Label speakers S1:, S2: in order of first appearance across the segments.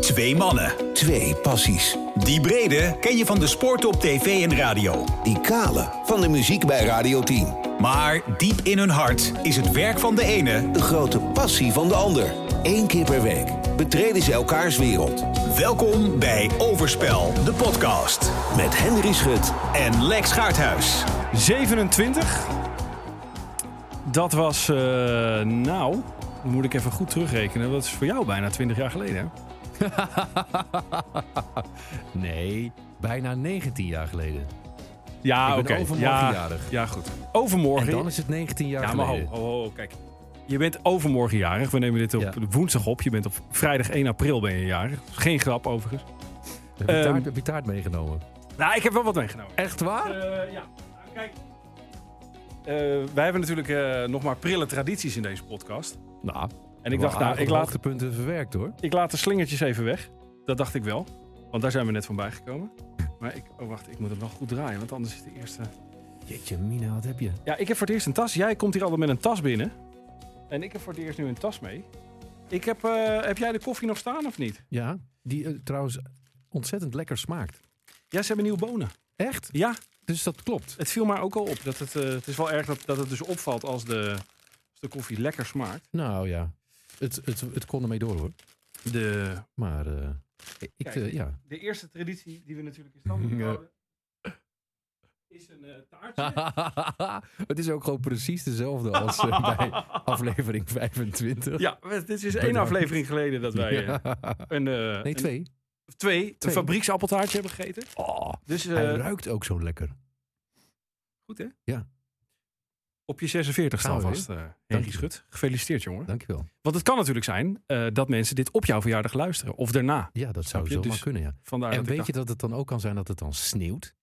S1: Twee mannen.
S2: Twee passies.
S1: Die brede ken je van de sport op tv en radio.
S2: Die kale van de muziek bij Radio 10.
S1: Maar diep in hun hart is het werk van de ene
S2: De grote passie van de ander. Eén keer per week betreden ze elkaars wereld.
S1: Welkom bij Overspel, de podcast.
S2: Met Henry Schut.
S1: En Lex Gaarthuis.
S3: 27. Dat was, eh, nou, dan moet ik even goed terugrekenen. Dat is voor jou bijna 20 jaar geleden. Hè?
S4: Nee, bijna 19 jaar geleden.
S3: Ja,
S4: Ik ben overmorgen
S3: Ja,
S4: jarig.
S3: ja, goed.
S4: En
S3: Overmorgen.
S4: dan is het 19 jaar
S3: ja, maar ho,
S4: geleden.
S3: ho, ho, kijk. Je bent overmorgen jarig. We nemen dit op
S4: Ja.
S3: woensdag op. Je bent op vrijdag 1 april ben je jarig. Geen grap overigens.
S4: Heb, je
S3: Ehm,
S4: taart, heb je taart meegenomen?
S3: Nou, ik heb wel wat meegenomen.
S4: Echt waar?
S3: Eh, ja, Nou, kijk. Eh, wij hebben natuurlijk eh, nog maar prille tradities in deze podcast.
S4: Nou,
S3: En ik dacht, nou, ik laat,
S4: laat de punten verwerkt hoor.
S3: ik laat de slingertjes even weg. Dat dacht ik wel. Want daar zijn we net van bijgekomen. Maar ik, oh wacht, ik moet het wel goed draaien, want anders is de eerste.
S4: Jeetje, Mina, wat heb je?
S3: Ja, ik heb voor het eerst een tas. Jij komt hier altijd met een tas binnen. En ik heb voor het eerst nu een tas mee. Ik heb, eh, heb jij de koffie nog staan of niet?
S4: Ja, die eh, trouwens ontzettend lekker smaakt.
S3: Ja, ze hebben nieuwe bonen.
S4: Echt?
S3: Ja,
S4: Dus dat klopt.
S3: het viel mij ook al op. Dat het, eh, het is wel erg dat, dat het dus opvalt als de, als de koffie lekker smaakt.
S4: Nou ja, het, het, het kon ermee door hoor.
S3: De,
S4: Maar eh, ik,
S3: Kijk.
S4: eh, ja.
S3: de eerste traditie die we natuurlijk in stand moeten
S4: Ja.
S3: houden... is een eh, taartje.
S4: het is ook gewoon precies dezelfde als eh, bij aflevering 25.
S3: Ja, dit is één
S4: Bedankt.
S3: aflevering geleden dat wij eh, een, eh,
S4: Nee,
S3: een-
S4: twee.
S3: twee, een
S4: Twee.
S3: fabrieksappeltaartje hebben gegeten.
S4: Oh,
S3: Dus eh,
S4: hij ruikt ook zo lekker.
S3: goed hè?
S4: Ja.
S3: Op je 46 staan
S4: Gaan we
S3: vast, eh
S4: Dank
S3: Henry
S4: je.
S3: Schut. Gefeliciteerd jongen.
S4: Dankjewel.
S3: Want het kan natuurlijk zijn eh, dat mensen dit op jouw verjaardag luisteren. Of daarna.
S4: Ja, dat zou
S3: je?
S4: zo
S3: Dus-
S4: maar kunnen, ja.
S3: Vandaar
S4: En
S3: dat ik
S4: weet je dat het dan ook kan zijn dat het dan sneeuwt?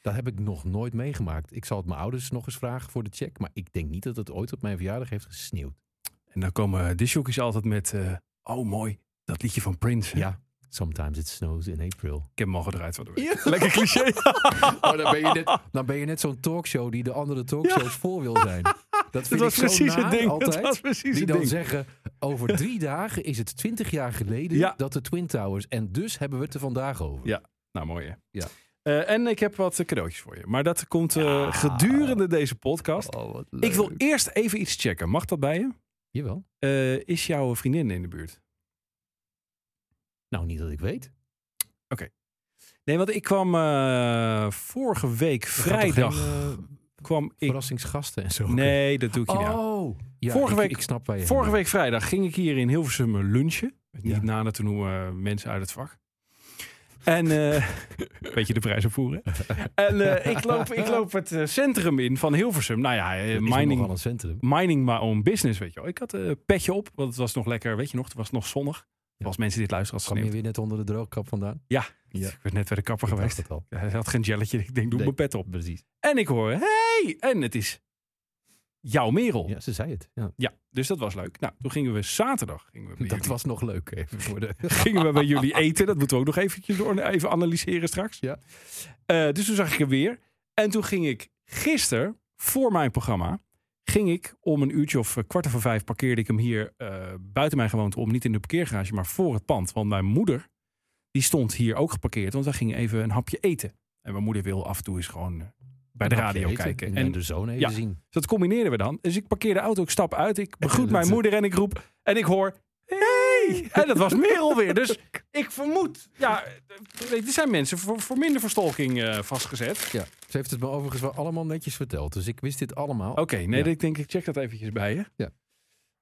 S4: Dat heb ik nog nooit meegemaakt. Ik zal het mijn ouders nog eens vragen voor de check. Maar ik denk niet dat het ooit op mijn verjaardag heeft gesneeuwd.
S3: dacht- En dan komen disjockeys altijd met... eh, oh mooi, dat liedje van Prince. hè?
S4: Ja, sometimes it snows in April.
S3: Ik heb hem al gedraaid van de week. Lekker cliché.
S4: Oh, dan ben je net, dan ben je net zo'n talkshow die de andere talkshows voor wil zijn. Dat
S3: dat
S4: vind
S3: was
S4: ik zo
S3: precies
S4: naar
S3: het ding.
S4: altijd.
S3: Dat was precies
S4: die
S3: het
S4: dan
S3: ding.
S4: zeggen, over drie dagen is het twintig jaar geleden
S3: Ja.
S4: dat de Twin Towers... en dus hebben we het er vandaag over.
S3: Ja, nou mooi hè.
S4: Ja.
S3: Eh, en ik heb wat eh, cadeautjes voor je. Maar dat komt eh, gedurende deze podcast.
S4: Oh, wat leuk.
S3: ik wil eerst even iets checken. Mag dat bij je?
S4: Jawel.
S3: Eh, is jouw vriendin in de buurt?
S4: Nou, niet dat ik weet.
S3: Nee, want ik kwam eh, vorige week
S4: Er gaat toch
S3: vrijdag.
S4: geen, eh,
S3: kwam ik...
S4: verrassingsgasten en zo.
S3: Nee, dat doe ik je niet aan.
S4: Oh. Ja,
S3: Vorige
S4: ik,
S3: week-
S4: Ik snap waar je
S3: Vorige
S4: heen
S3: week vrijdag ging ik hier in Hilversum eh, lunchen. Met
S4: Ja.
S3: Niet nader te noemen eh, mensen uit het vak. En eh weet je de prijs opvoeren. En eh, ik, loop, ik loop het eh, centrum in van Hilversum. Nou ja, eh,
S4: wil. Er is
S3: mining,
S4: nogal een centrum.
S3: mining my own business, weet je wel. Ik had een petje op, want het was nog lekker, weet je nog, het was nog zonnig.
S4: Ja.
S3: Als mensen dit luisteren, had
S4: Kwam je
S3: sneeuwt.
S4: weer net onder de droogkap vandaan? Ja.
S3: Ik werd net bij de kapper
S4: Ik dacht
S3: geweest.
S4: het al.
S3: Hij had geen gelletje, ik denk, doe
S4: Nee.
S3: mijn pet op.
S4: Precies.
S3: En ik hoor, hey! En het is jouw merel. Ja.
S4: Ja, ze zei het. Ja.
S3: dus dat was leuk. Nou, toen gingen we zaterdag gingen we bij,
S4: Dat
S3: jullie,
S4: was nog leuk even voor de...
S3: gingen we bij jullie eten. Dat moeten we ook nog eventjes door, even analyseren straks.
S4: Ja.
S3: Eh, dus toen zag ik hem weer. En toen ging ik gisteren, voor mijn programma, ging ik om een uurtje of eh, kwart over vijf parkeerde ik hem hier eh, buiten mijn gewoonte om. Niet in de parkeergarage, maar voor het pand. Want mijn moeder, die stond hier ook geparkeerd. Want wij gingen even een hapje eten. En mijn moeder wil af en toe eens gewoon eh, bij de
S4: Een hapje
S3: radio
S4: eten
S3: kijken.
S4: En,
S3: En
S4: de zoon even
S3: Ja.
S4: zien.
S3: dus dat combineerden we dan. Dus ik parkeer de auto, ik stap uit, ik begroet
S4: dat-
S3: mijn moeder en ik roep. En ik hoor, hey! En dat was Merel weer. Dus ik vermoed, ja, eh, weet je, er zijn mensen voor, voor minder verstolking eh, vastgezet.
S4: Ja. Ze heeft het me overigens wel allemaal netjes verteld. Dus ik wist dit allemaal.
S3: Oké, nee,
S4: Ja.
S3: ik denk ik check dat eventjes bij je.
S4: Ja.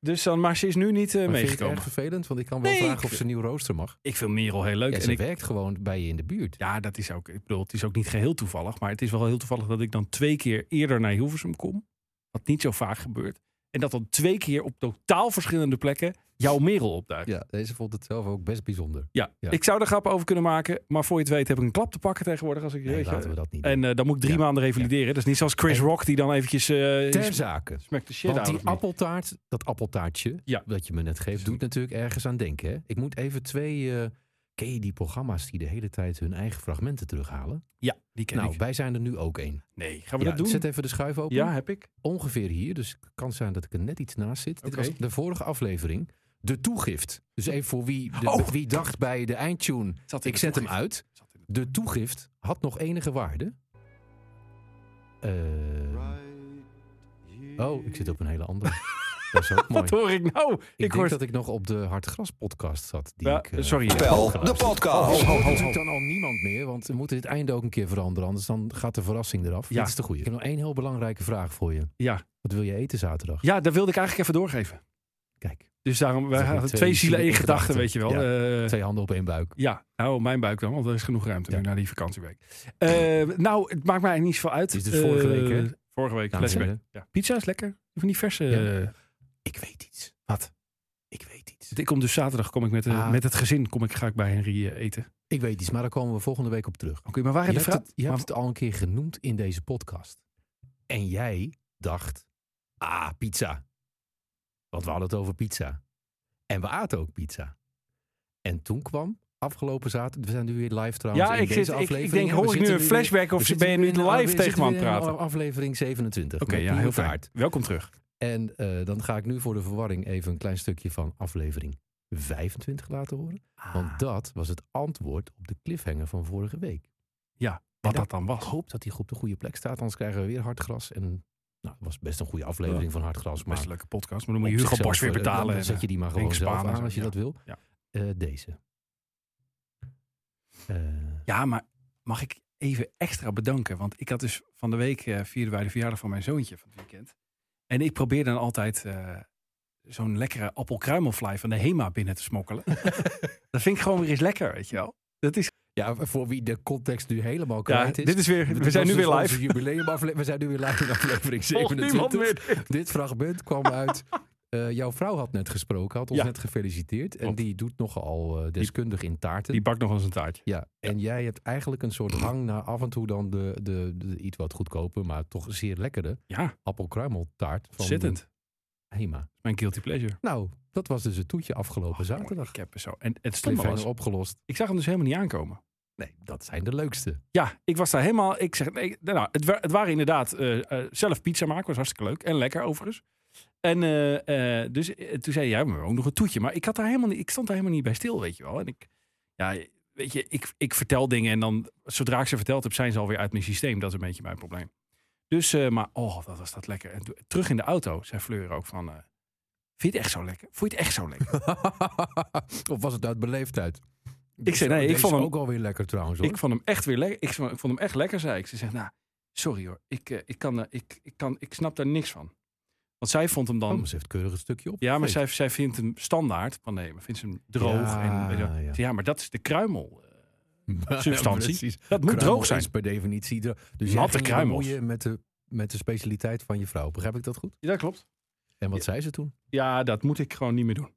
S3: Dus dan, maar ze is nu niet eh,
S4: Maar ik vind het
S3: meegekomen.
S4: erg vervelend, want ik kan wel
S3: Nee, ik
S4: vragen of
S3: vind-
S4: ze een nieuw rooster mag.
S3: Ik vind Merel heel leuk.
S4: Ja,
S3: en
S4: ze
S3: ik,
S4: werkt gewoon bij je in de buurt.
S3: ja, dat is ook, ik bedoel, het is ook niet geheel toevallig. Maar het is wel heel toevallig dat ik dan twee keer eerder naar Hilversum kom. Wat niet zo vaak gebeurt. En dat dan twee keer op totaal verschillende plekken jouw Merel opduikt.
S4: Ja, deze vond het zelf ook best bijzonder.
S3: Ja,
S4: Ja.
S3: ik zou er grappen over kunnen maken. Maar voor je het weet heb ik een klap te pakken tegenwoordig. Als ik,
S4: Nee,
S3: weet je.
S4: laten we dat niet doen.
S3: En eh, dan moet ik drie
S4: Ja.
S3: maanden revalideren. Dat is niet zoals Chris
S4: En-
S3: Rock die dan eventjes... eh
S4: Ter zake.
S3: smack de shit
S4: Want
S3: out
S4: die
S3: of me.
S4: appeltaart, dat appeltaartje
S3: Ja.
S4: dat je me net geeft, doet natuurlijk ergens aan denken. Hè? Ik moet even twee, eh, ken je die programma's die de hele tijd hun eigen fragmenten terughalen?
S3: Ja, die ken
S4: nou,
S3: ik.
S4: wij zijn er nu ook één.
S3: Nee, gaan we
S4: Ja,
S3: dat doen?
S4: Zet even de schuif open.
S3: Ja, heb ik.
S4: Ongeveer hier, dus het kan zijn dat ik er net iets naast zit. Dit
S3: Oké.
S4: was de vorige aflevering De toegift. Dus even voor wie, de-
S3: Oh.
S4: wie dacht bij de eindtune,
S3: Zat in
S4: ik
S3: de
S4: zet hem
S3: toegift.
S4: uit. De toegift had nog enige waarde. Eh, oh, ik zit op een hele andere. dat is ook mooi.
S3: Wat hoor ik nou? Ik,
S4: Ik, denk
S3: hoor...
S4: dat ik nog op de Hartgras podcast zat. Die
S3: Ja,
S4: ik, eh,
S3: sorry.
S2: Spel,
S4: had
S2: de
S4: geluisterd.
S2: podcast.
S4: Oh, ho, natuurlijk dan al niemand meer, want we moeten dit einde ook een keer veranderen. Anders dan gaat de verrassing eraf.
S3: Ja.
S4: Dit is de goeie. Ik heb nog één heel belangrijke vraag voor je.
S3: Ja.
S4: Wat wil je eten zaterdag?
S3: ja, dat wilde ik eigenlijk even doorgeven.
S4: Kijk,
S3: Dus daarom, wij
S4: Dat
S3: hadden
S4: ik
S3: twee,
S4: twee
S3: zielen in
S4: zielen in
S3: gedachten,
S4: gedachten.
S3: weet je wel. Eh,
S4: twee handen op één buik.
S3: Ja, nou, mijn buik dan, want er is genoeg ruimte
S4: Ja.
S3: nu na die vakantieweek. Eh, nou, het maakt mij niet zoveel uit.
S4: Het is dus vorige
S3: Eh,
S4: week, hè?
S3: Vorige week.
S4: Dames en
S3: flashback.
S4: heren.
S3: Ja. Pizza is lekker. Van die verse.
S4: Ja.
S3: eh,
S4: Ik weet iets.
S3: Wat?
S4: Ik weet iets.
S3: ik kom dus zaterdag kom ik met, eh,
S4: Ah.
S3: met het gezin kom ik, ga ik bij Henri eh, eten. Oké,
S4: Ik weet iets, maar daar komen we volgende week op terug.
S3: maar waar
S4: Je
S3: de
S4: hebt,
S3: vrouw...
S4: het, je hebt
S3: maar-
S4: het al een keer genoemd in deze podcast. En jij dacht, ah, pizza. Want we hadden het over pizza. En we aten ook pizza. En toen kwam afgelopen zaterdag, we zijn nu weer live trouwens.
S3: Ja,
S4: in
S3: ik,
S4: deze
S3: zit, ik, ik
S4: aflevering.
S3: denk,
S4: We
S3: hoor ik nu
S4: zitten
S3: een
S4: weer-
S3: flashback
S4: we
S3: of
S4: zitten
S3: ben je nu
S4: weer in een-
S3: live
S4: we zitten
S3: tegen me aan het
S4: weer in
S3: praten? Oké,
S4: Aflevering 27. met
S3: ja,
S4: Pieter
S3: heel
S4: Taart.
S3: fijn. Welkom terug.
S4: En eh, dan ga ik nu voor de verwarring even een klein stukje van aflevering 25 laten horen.
S3: Ah.
S4: Want dat was het antwoord op de cliffhanger van vorige week.
S3: Wat
S4: En
S3: dat dan
S4: Ik
S3: was.
S4: hoop dat hij op de goede plek staat, anders krijgen we weer hardgras. En nou, het was best een goede aflevering van hardgras. Maar
S3: Best een leuke podcast, maar dan moet
S4: op
S3: je Hugo
S4: zichzelf,
S3: Bos weer
S4: eh,
S3: betalen.
S4: Dan zet je die maar gewoon
S3: Henk
S4: zelf
S3: Spaan en
S4: aan
S3: zo,
S4: als je
S3: ja.
S4: dat wil.
S3: Ja.
S4: Eh, deze. Eh,
S3: Ja, maar mag ik even extra bedanken? Want ik had dus van de week eh vierden wij de verjaardag van mijn zoontje van het weekend. En ik probeer dan altijd eh, zo'n lekkere appelkruimelfly van de Hema binnen te smokkelen. dat vind ik gewoon weer eens lekker, weet je wel. Dat is,
S4: ja, voor wie de context nu helemaal kwijt is.
S3: dit is weer, we
S4: Dit
S3: zijn nu
S4: was
S3: weer
S4: dus
S3: live.
S4: onze jubileumafle- We zijn nu weer live in aflevering 27. Dit fragment kwam uit. eh, jouw vrouw had net gesproken, had ons
S3: Ja.
S4: net gefeliciteerd. En
S3: Klopt.
S4: die doet nogal eh, deskundig in taarten.
S3: Die bakt nog eens een taartje.
S4: ja, en jij hebt eigenlijk een soort hang naar af en toe dan de, de, de iets wat goedkope, maar toch zeer lekkere
S3: Ja,
S4: appelkruimeltaart van
S3: zittend.
S4: de Hema.
S3: Mijn guilty pleasure.
S4: Nou, dat was dus het toetje afgelopen zaterdag.
S3: Ik heb er zo. En Oh, het slimme was,
S4: Cliffhanger opgelost.
S3: ik zag hem dus helemaal niet aankomen.
S4: Nee, dat zijn de leukste.
S3: Ja, ik was daar helemaal. Ik zeg, nee, nou, het, wa- het waren inderdaad eh, eh, zelf pizza maken, was hartstikke leuk en lekker overigens. En eh, eh, dus eh, toen zei hij, ja, maar ook nog een toetje. Maar ik, had daar helemaal niet, ik stond daar helemaal niet bij stil, weet je wel. En ik, ja, weet je, ik, ik vertel dingen en dan, zodra ik ze verteld heb, zijn ze alweer uit mijn systeem. Dat is een beetje mijn probleem. Dus, eh, maar, oh, wat was dat lekker. En toen- terug in de auto zei Fleur ook van, eh, vind je het echt zo lekker? Vond je het echt zo lekker?
S4: of was het uit beleefdheid?
S3: Ik zei, nee, ik
S4: Deze
S3: vond hem-
S4: ook alweer lekker trouwens hoor.
S3: Ik vond hem echt weer lekker. Ik vond ik vond hem echt lekker, zei ik. Ze zegt, nou, sorry hoor. Ik, eh, ik, kan, eh, ik, ik, kan, ik snap daar niks van. Want zij vond hem dan...
S4: Oh, ze heeft keurig een stukje op.
S3: ja, maar zij, zij vindt hem standaard. Van nee, maar vindt ze hem droog.
S4: Ja,
S3: en, weet je wel.
S4: ja.
S3: Ik zeg, ja, maar dat is de kruimel. substantie.
S4: Precies.
S3: Dat moet
S4: Kruimel
S3: droog zijn.
S4: is per definitie droog. Dus jij
S3: Natte
S4: ging je
S3: kruimels.
S4: bemoeien met de, met de specialiteit van je vrouw. Begrijp ik dat goed?
S3: Ja, dat klopt.
S4: En wat zei ze toen?
S3: Ja, dat moet ik gewoon niet meer doen.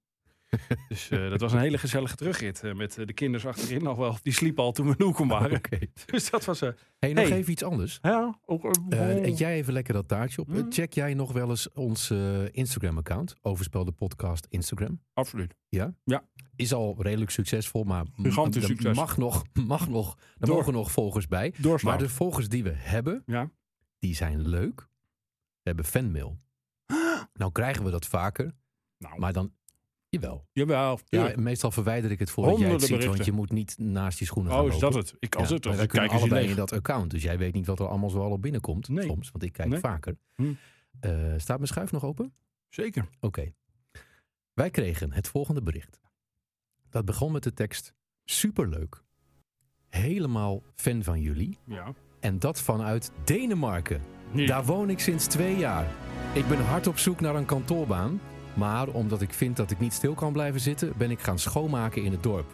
S3: dus eh, dat was een hele gezellige terugrit. eh, met eh, de kinders achterin nog wel. Die sliepen al toen we nieuw kom waren. Dus dat was... eh
S4: Hey, nog
S3: Hey.
S4: even iets anders.
S3: ja, ook,
S4: Eh, eet jij even lekker dat taartje op. Eh,
S3: Mm.
S4: Check jij nog wel eens ons eh, Instagram-account. Overspel de podcast Instagram.
S3: Absoluut.
S4: Is al redelijk succesvol, maar m-
S3: Gigantisch
S4: er
S3: succes.
S4: mag nog, mag nog, er
S3: Door.
S4: mogen nog volgers bij.
S3: Doorslaan.
S4: Maar dus- de volgers die we hebben,
S3: Ja.
S4: die zijn leuk. We hebben fanmail. Nou krijgen we dat vaker,
S3: nou,
S4: maar dan... Jawel.
S3: jawel.
S4: Ja,
S3: tuurlijk.
S4: meestal verwijder ik het voordat jij het
S3: Honderden
S4: ziet, want
S3: berichten.
S4: je moet niet naast je schoenen gaan
S3: oh, is dat
S4: lopen.
S3: het? Ik als
S4: Ja,
S3: het.
S4: maar
S3: Als
S4: wij
S3: ik kijk
S4: kunnen
S3: eens in
S4: allebei
S3: leeg.
S4: in dat account, dus jij weet niet wat er allemaal zoal op binnenkomt
S3: Nee.
S4: soms, want ik kijk
S3: Nee.
S4: vaker.
S3: Hm.
S4: Eh, staat mijn schuif nog open?
S3: Zeker.
S4: Oké. Wij kregen het volgende bericht. Dat begon met de tekst, superleuk. Helemaal fan van jullie.
S3: Ja.
S4: En dat vanuit Denemarken.
S3: Nee.
S4: Daar woon ik sinds twee jaar. Ik ben hard op zoek naar een kantoorbaan. Maar omdat ik vind dat ik niet stil kan blijven zitten, ben ik gaan schoonmaken in het dorp.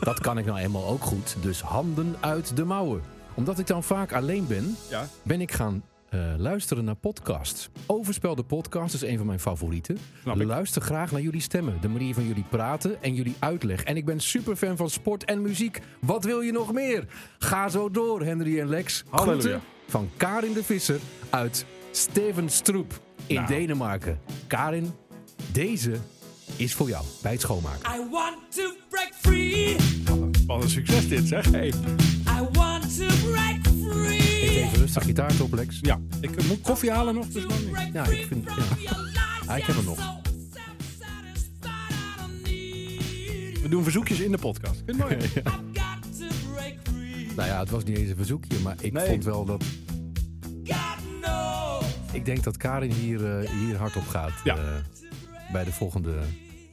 S4: Dat kan ik nou eenmaal ook goed, dus handen uit de mouwen. Omdat ik dan vaak alleen ben,
S3: Ja.
S4: ben ik gaan eh, luisteren naar podcasts. Overspel de podcast is een van mijn favorieten.
S3: Snap ik.
S4: Luister graag naar jullie stemmen, de manier van jullie praten en jullie uitleg. En ik ben super fan van sport en muziek. Wat wil je nog meer? Ga zo door, Henry en Lex.
S3: Halleluja.
S4: Groeten van Karin de Visser uit Steven Stroep in
S3: Nou.
S4: Denemarken. Karin, deze is voor jou bij het schoonmaken.
S5: I want to break free.
S3: Wat een succes dit, zeg. Hey.
S5: I want to break free.
S4: Even rustig gitaar op, Lex.
S3: Ja, ik moet koffie halen nog. Dus
S5: To
S3: maar niet.
S5: break
S4: Ja, ik
S5: free
S4: vind-
S5: from
S4: ja.
S5: your lies.
S4: Ah, ik heb hem
S5: You're
S4: nog.
S5: so self-satisfied, I don't
S3: doen verzoekjes in de podcast. Vind je het mooi?
S5: I've got to break free.
S4: Nou ja, het was niet eens een verzoekje, maar ik
S3: Nee.
S4: vond wel dat...
S5: God knows.
S4: Ik denk dat Karin hier, eh, hier hard op gaat
S3: Ja.
S4: eh, bij de volgende... eh,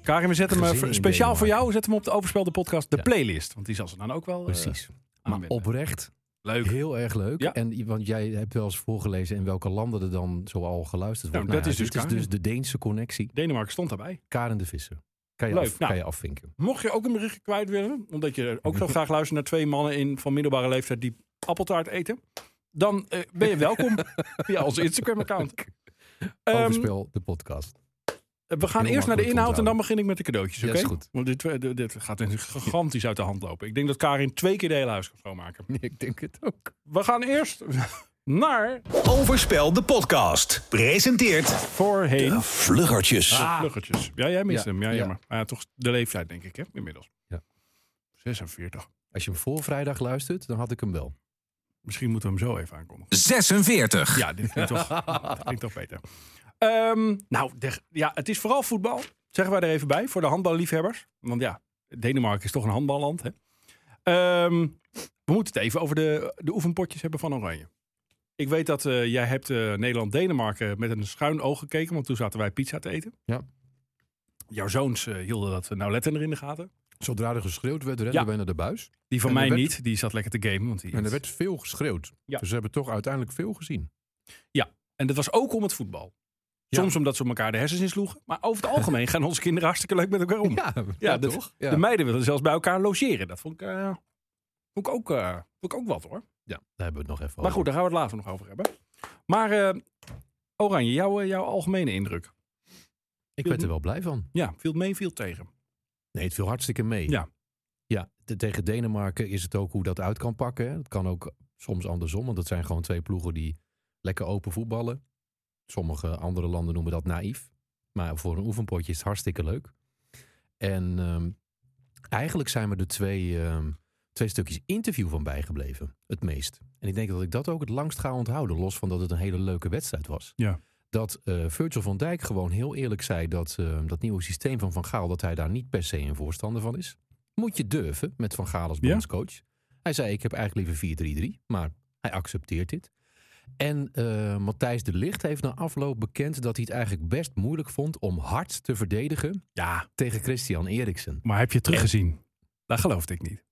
S3: Karin, we zetten hem
S4: Gezin
S3: eh,
S4: in
S3: speciaal voor
S4: Denemarken.
S3: jou zetten we op de Overspelde podcast de
S4: Ja.
S3: playlist. Want die zal ze dan ook wel eh,
S4: Maar
S3: aanwenden.
S4: oprecht,
S3: Leuk.
S4: heel erg leuk.
S3: Ja.
S4: En, want jij hebt wel eens voorgelezen in welke landen er dan zoal geluisterd wordt.
S3: Nou, dat is dus
S4: dit is
S3: Karin.
S4: dus de Deense connectie.
S3: Denemarken stond daarbij.
S4: Karen de Visser. Kan je,
S3: Leuk.
S4: af-
S3: Nou.
S4: kan je afvinken.
S3: Mocht je ook een berichtje kwijt willen, omdat je ook zo graag luistert naar twee mannen in van middelbare leeftijd die appeltaart eten, dan eh, ben je welkom via onze Instagram-account. Ehm,
S4: Overspel, de podcast.
S3: we gaan
S4: heel
S3: eerst naar de
S4: makkelijk
S3: inhoud en
S4: onthouden.
S3: dan begin ik met de cadeautjes.
S4: Ja,
S3: Oké,
S4: is goed.
S3: Want dit, eh, dit- dit gaat natuurlijk gigantisch uit de hand lopen. Ik denk dat Karin twee keer de hele huis kan schoonmaken.
S4: Ik denk het ook.
S3: We gaan eerst naar
S1: Overspel de podcast. Presenteert
S3: voorheen.
S2: De Vluggertjes.
S3: Ah. Vluggetjes. Ja, jij mist
S4: Ja,
S3: hem. Ja,
S4: ja.
S3: jammer. Maar ja, toch de leeftijd, denk ik, hè, inmiddels.
S4: Ja.
S3: 46.
S4: Als je hem voor vrijdag luistert, dan had ik hem wel.
S3: Misschien moeten we hem zo even aankondigen.
S1: 46.
S3: Ja, dit klinkt toch, dit klinkt toch beter. Ehm, nou, de- ja, het is vooral voetbal. Zeggen wij er even bij, voor de handballiefhebbers. Want ja, Denemarken is toch een handballand, hè? Ehm, we moeten het even over de, de oefenpotjes hebben van Oranje. Ik weet dat eh, jij hebt eh, Nederland-Denemarken met een schuin oog gekeken. Want toen zaten wij pizza te eten.
S4: Ja.
S3: Jouw zoons eh, hielden dat nauwlettender in de gaten.
S4: Zodra er geschreeuwd werd, renden
S3: Ja.
S4: wij naar de buis.
S3: Die van
S4: En er
S3: mij
S4: werd-
S3: niet, die zat lekker te gamen. Want die
S4: En er werd veel geschreeuwd.
S3: Ja.
S4: Dus we hebben toch uiteindelijk veel gezien.
S3: en dat was ook om het voetbal.
S4: Ja.
S3: Soms omdat ze elkaar de hersens insloegen. Maar over het algemeen gaan onze kinderen hartstikke leuk met elkaar om. Ja, dat-
S4: toch? Ja.
S3: De meiden willen zelfs bij elkaar logeren. Dat vond ik, eh, vond ik, ook, eh, vond ik ook wat hoor.
S4: Ja, daar hebben we het nog even
S3: Maar goed, daar gaan we het later nog over hebben. Maar eh, Oranje, jouw, eh, jouw algemene indruk.
S4: Ik werd er wel blij van.
S3: Ja, viel mee, viel tegen.
S4: Nee, het viel hartstikke mee.
S3: Ja.
S4: Ja, te- tegen Denemarken is het ook hoe dat uit kan pakken. hè. Het kan ook soms andersom, want dat zijn gewoon twee ploegen die lekker open voetballen. Sommige andere landen noemen dat naïef. Maar voor een oefenpotje is het hartstikke leuk. En ehm, eigenlijk zijn me er twee, ehm, twee stukjes interview van bijgebleven, het meest. En ik denk dat ik dat ook het langst ga onthouden, los van dat het een hele leuke wedstrijd was.
S3: Ja.
S4: Dat eh, Virgil van Dijk gewoon heel eerlijk zei dat ehm, dat nieuwe systeem van Van Gaal, dat hij daar niet per se een voorstander van is. Moet je durven met Van Gaal als
S3: Ja.
S4: bondscoach. Hij zei, ik heb eigenlijk liever 4-3-3, maar hij accepteert dit. En eh, Matthijs de Licht heeft na afloop bekend dat hij het eigenlijk best moeilijk vond om hard te verdedigen
S3: Ja,
S4: tegen Christian Eriksen.
S3: maar heb je teruggezien? Dat geloofde ik niet.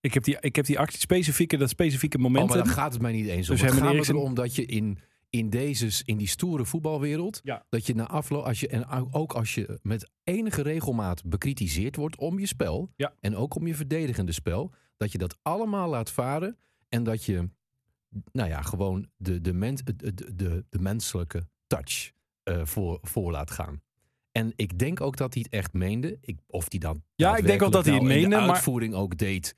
S3: Ik heb die, ik heb die actie specifieke, dat specifieke
S4: Oh,
S3: moment.
S4: maar daar gaat het mij niet eens om.
S3: Dus hem
S4: het
S3: en
S4: gaat me
S3: Eriksen-
S4: erom dat je in, in, deze, in die stoere voetbalwereld,
S3: Ja.
S4: dat je na afloop, als je, en ook als je met enige regelmaat bekritiseerd wordt om je spel,
S3: Ja.
S4: en ook om je verdedigende spel, dat je dat allemaal laat varen en dat je, nou ja, gewoon de, de, mens, de, de- de, de menselijke touch eh, voor, voor laat gaan. En ik denk ook dat hij het echt meende. Ik, of hij dan
S3: Ja, ik denk wel dat hij het
S4: daadwerkelijk nou in de
S3: meende, maar-
S4: uitvoering ook deed.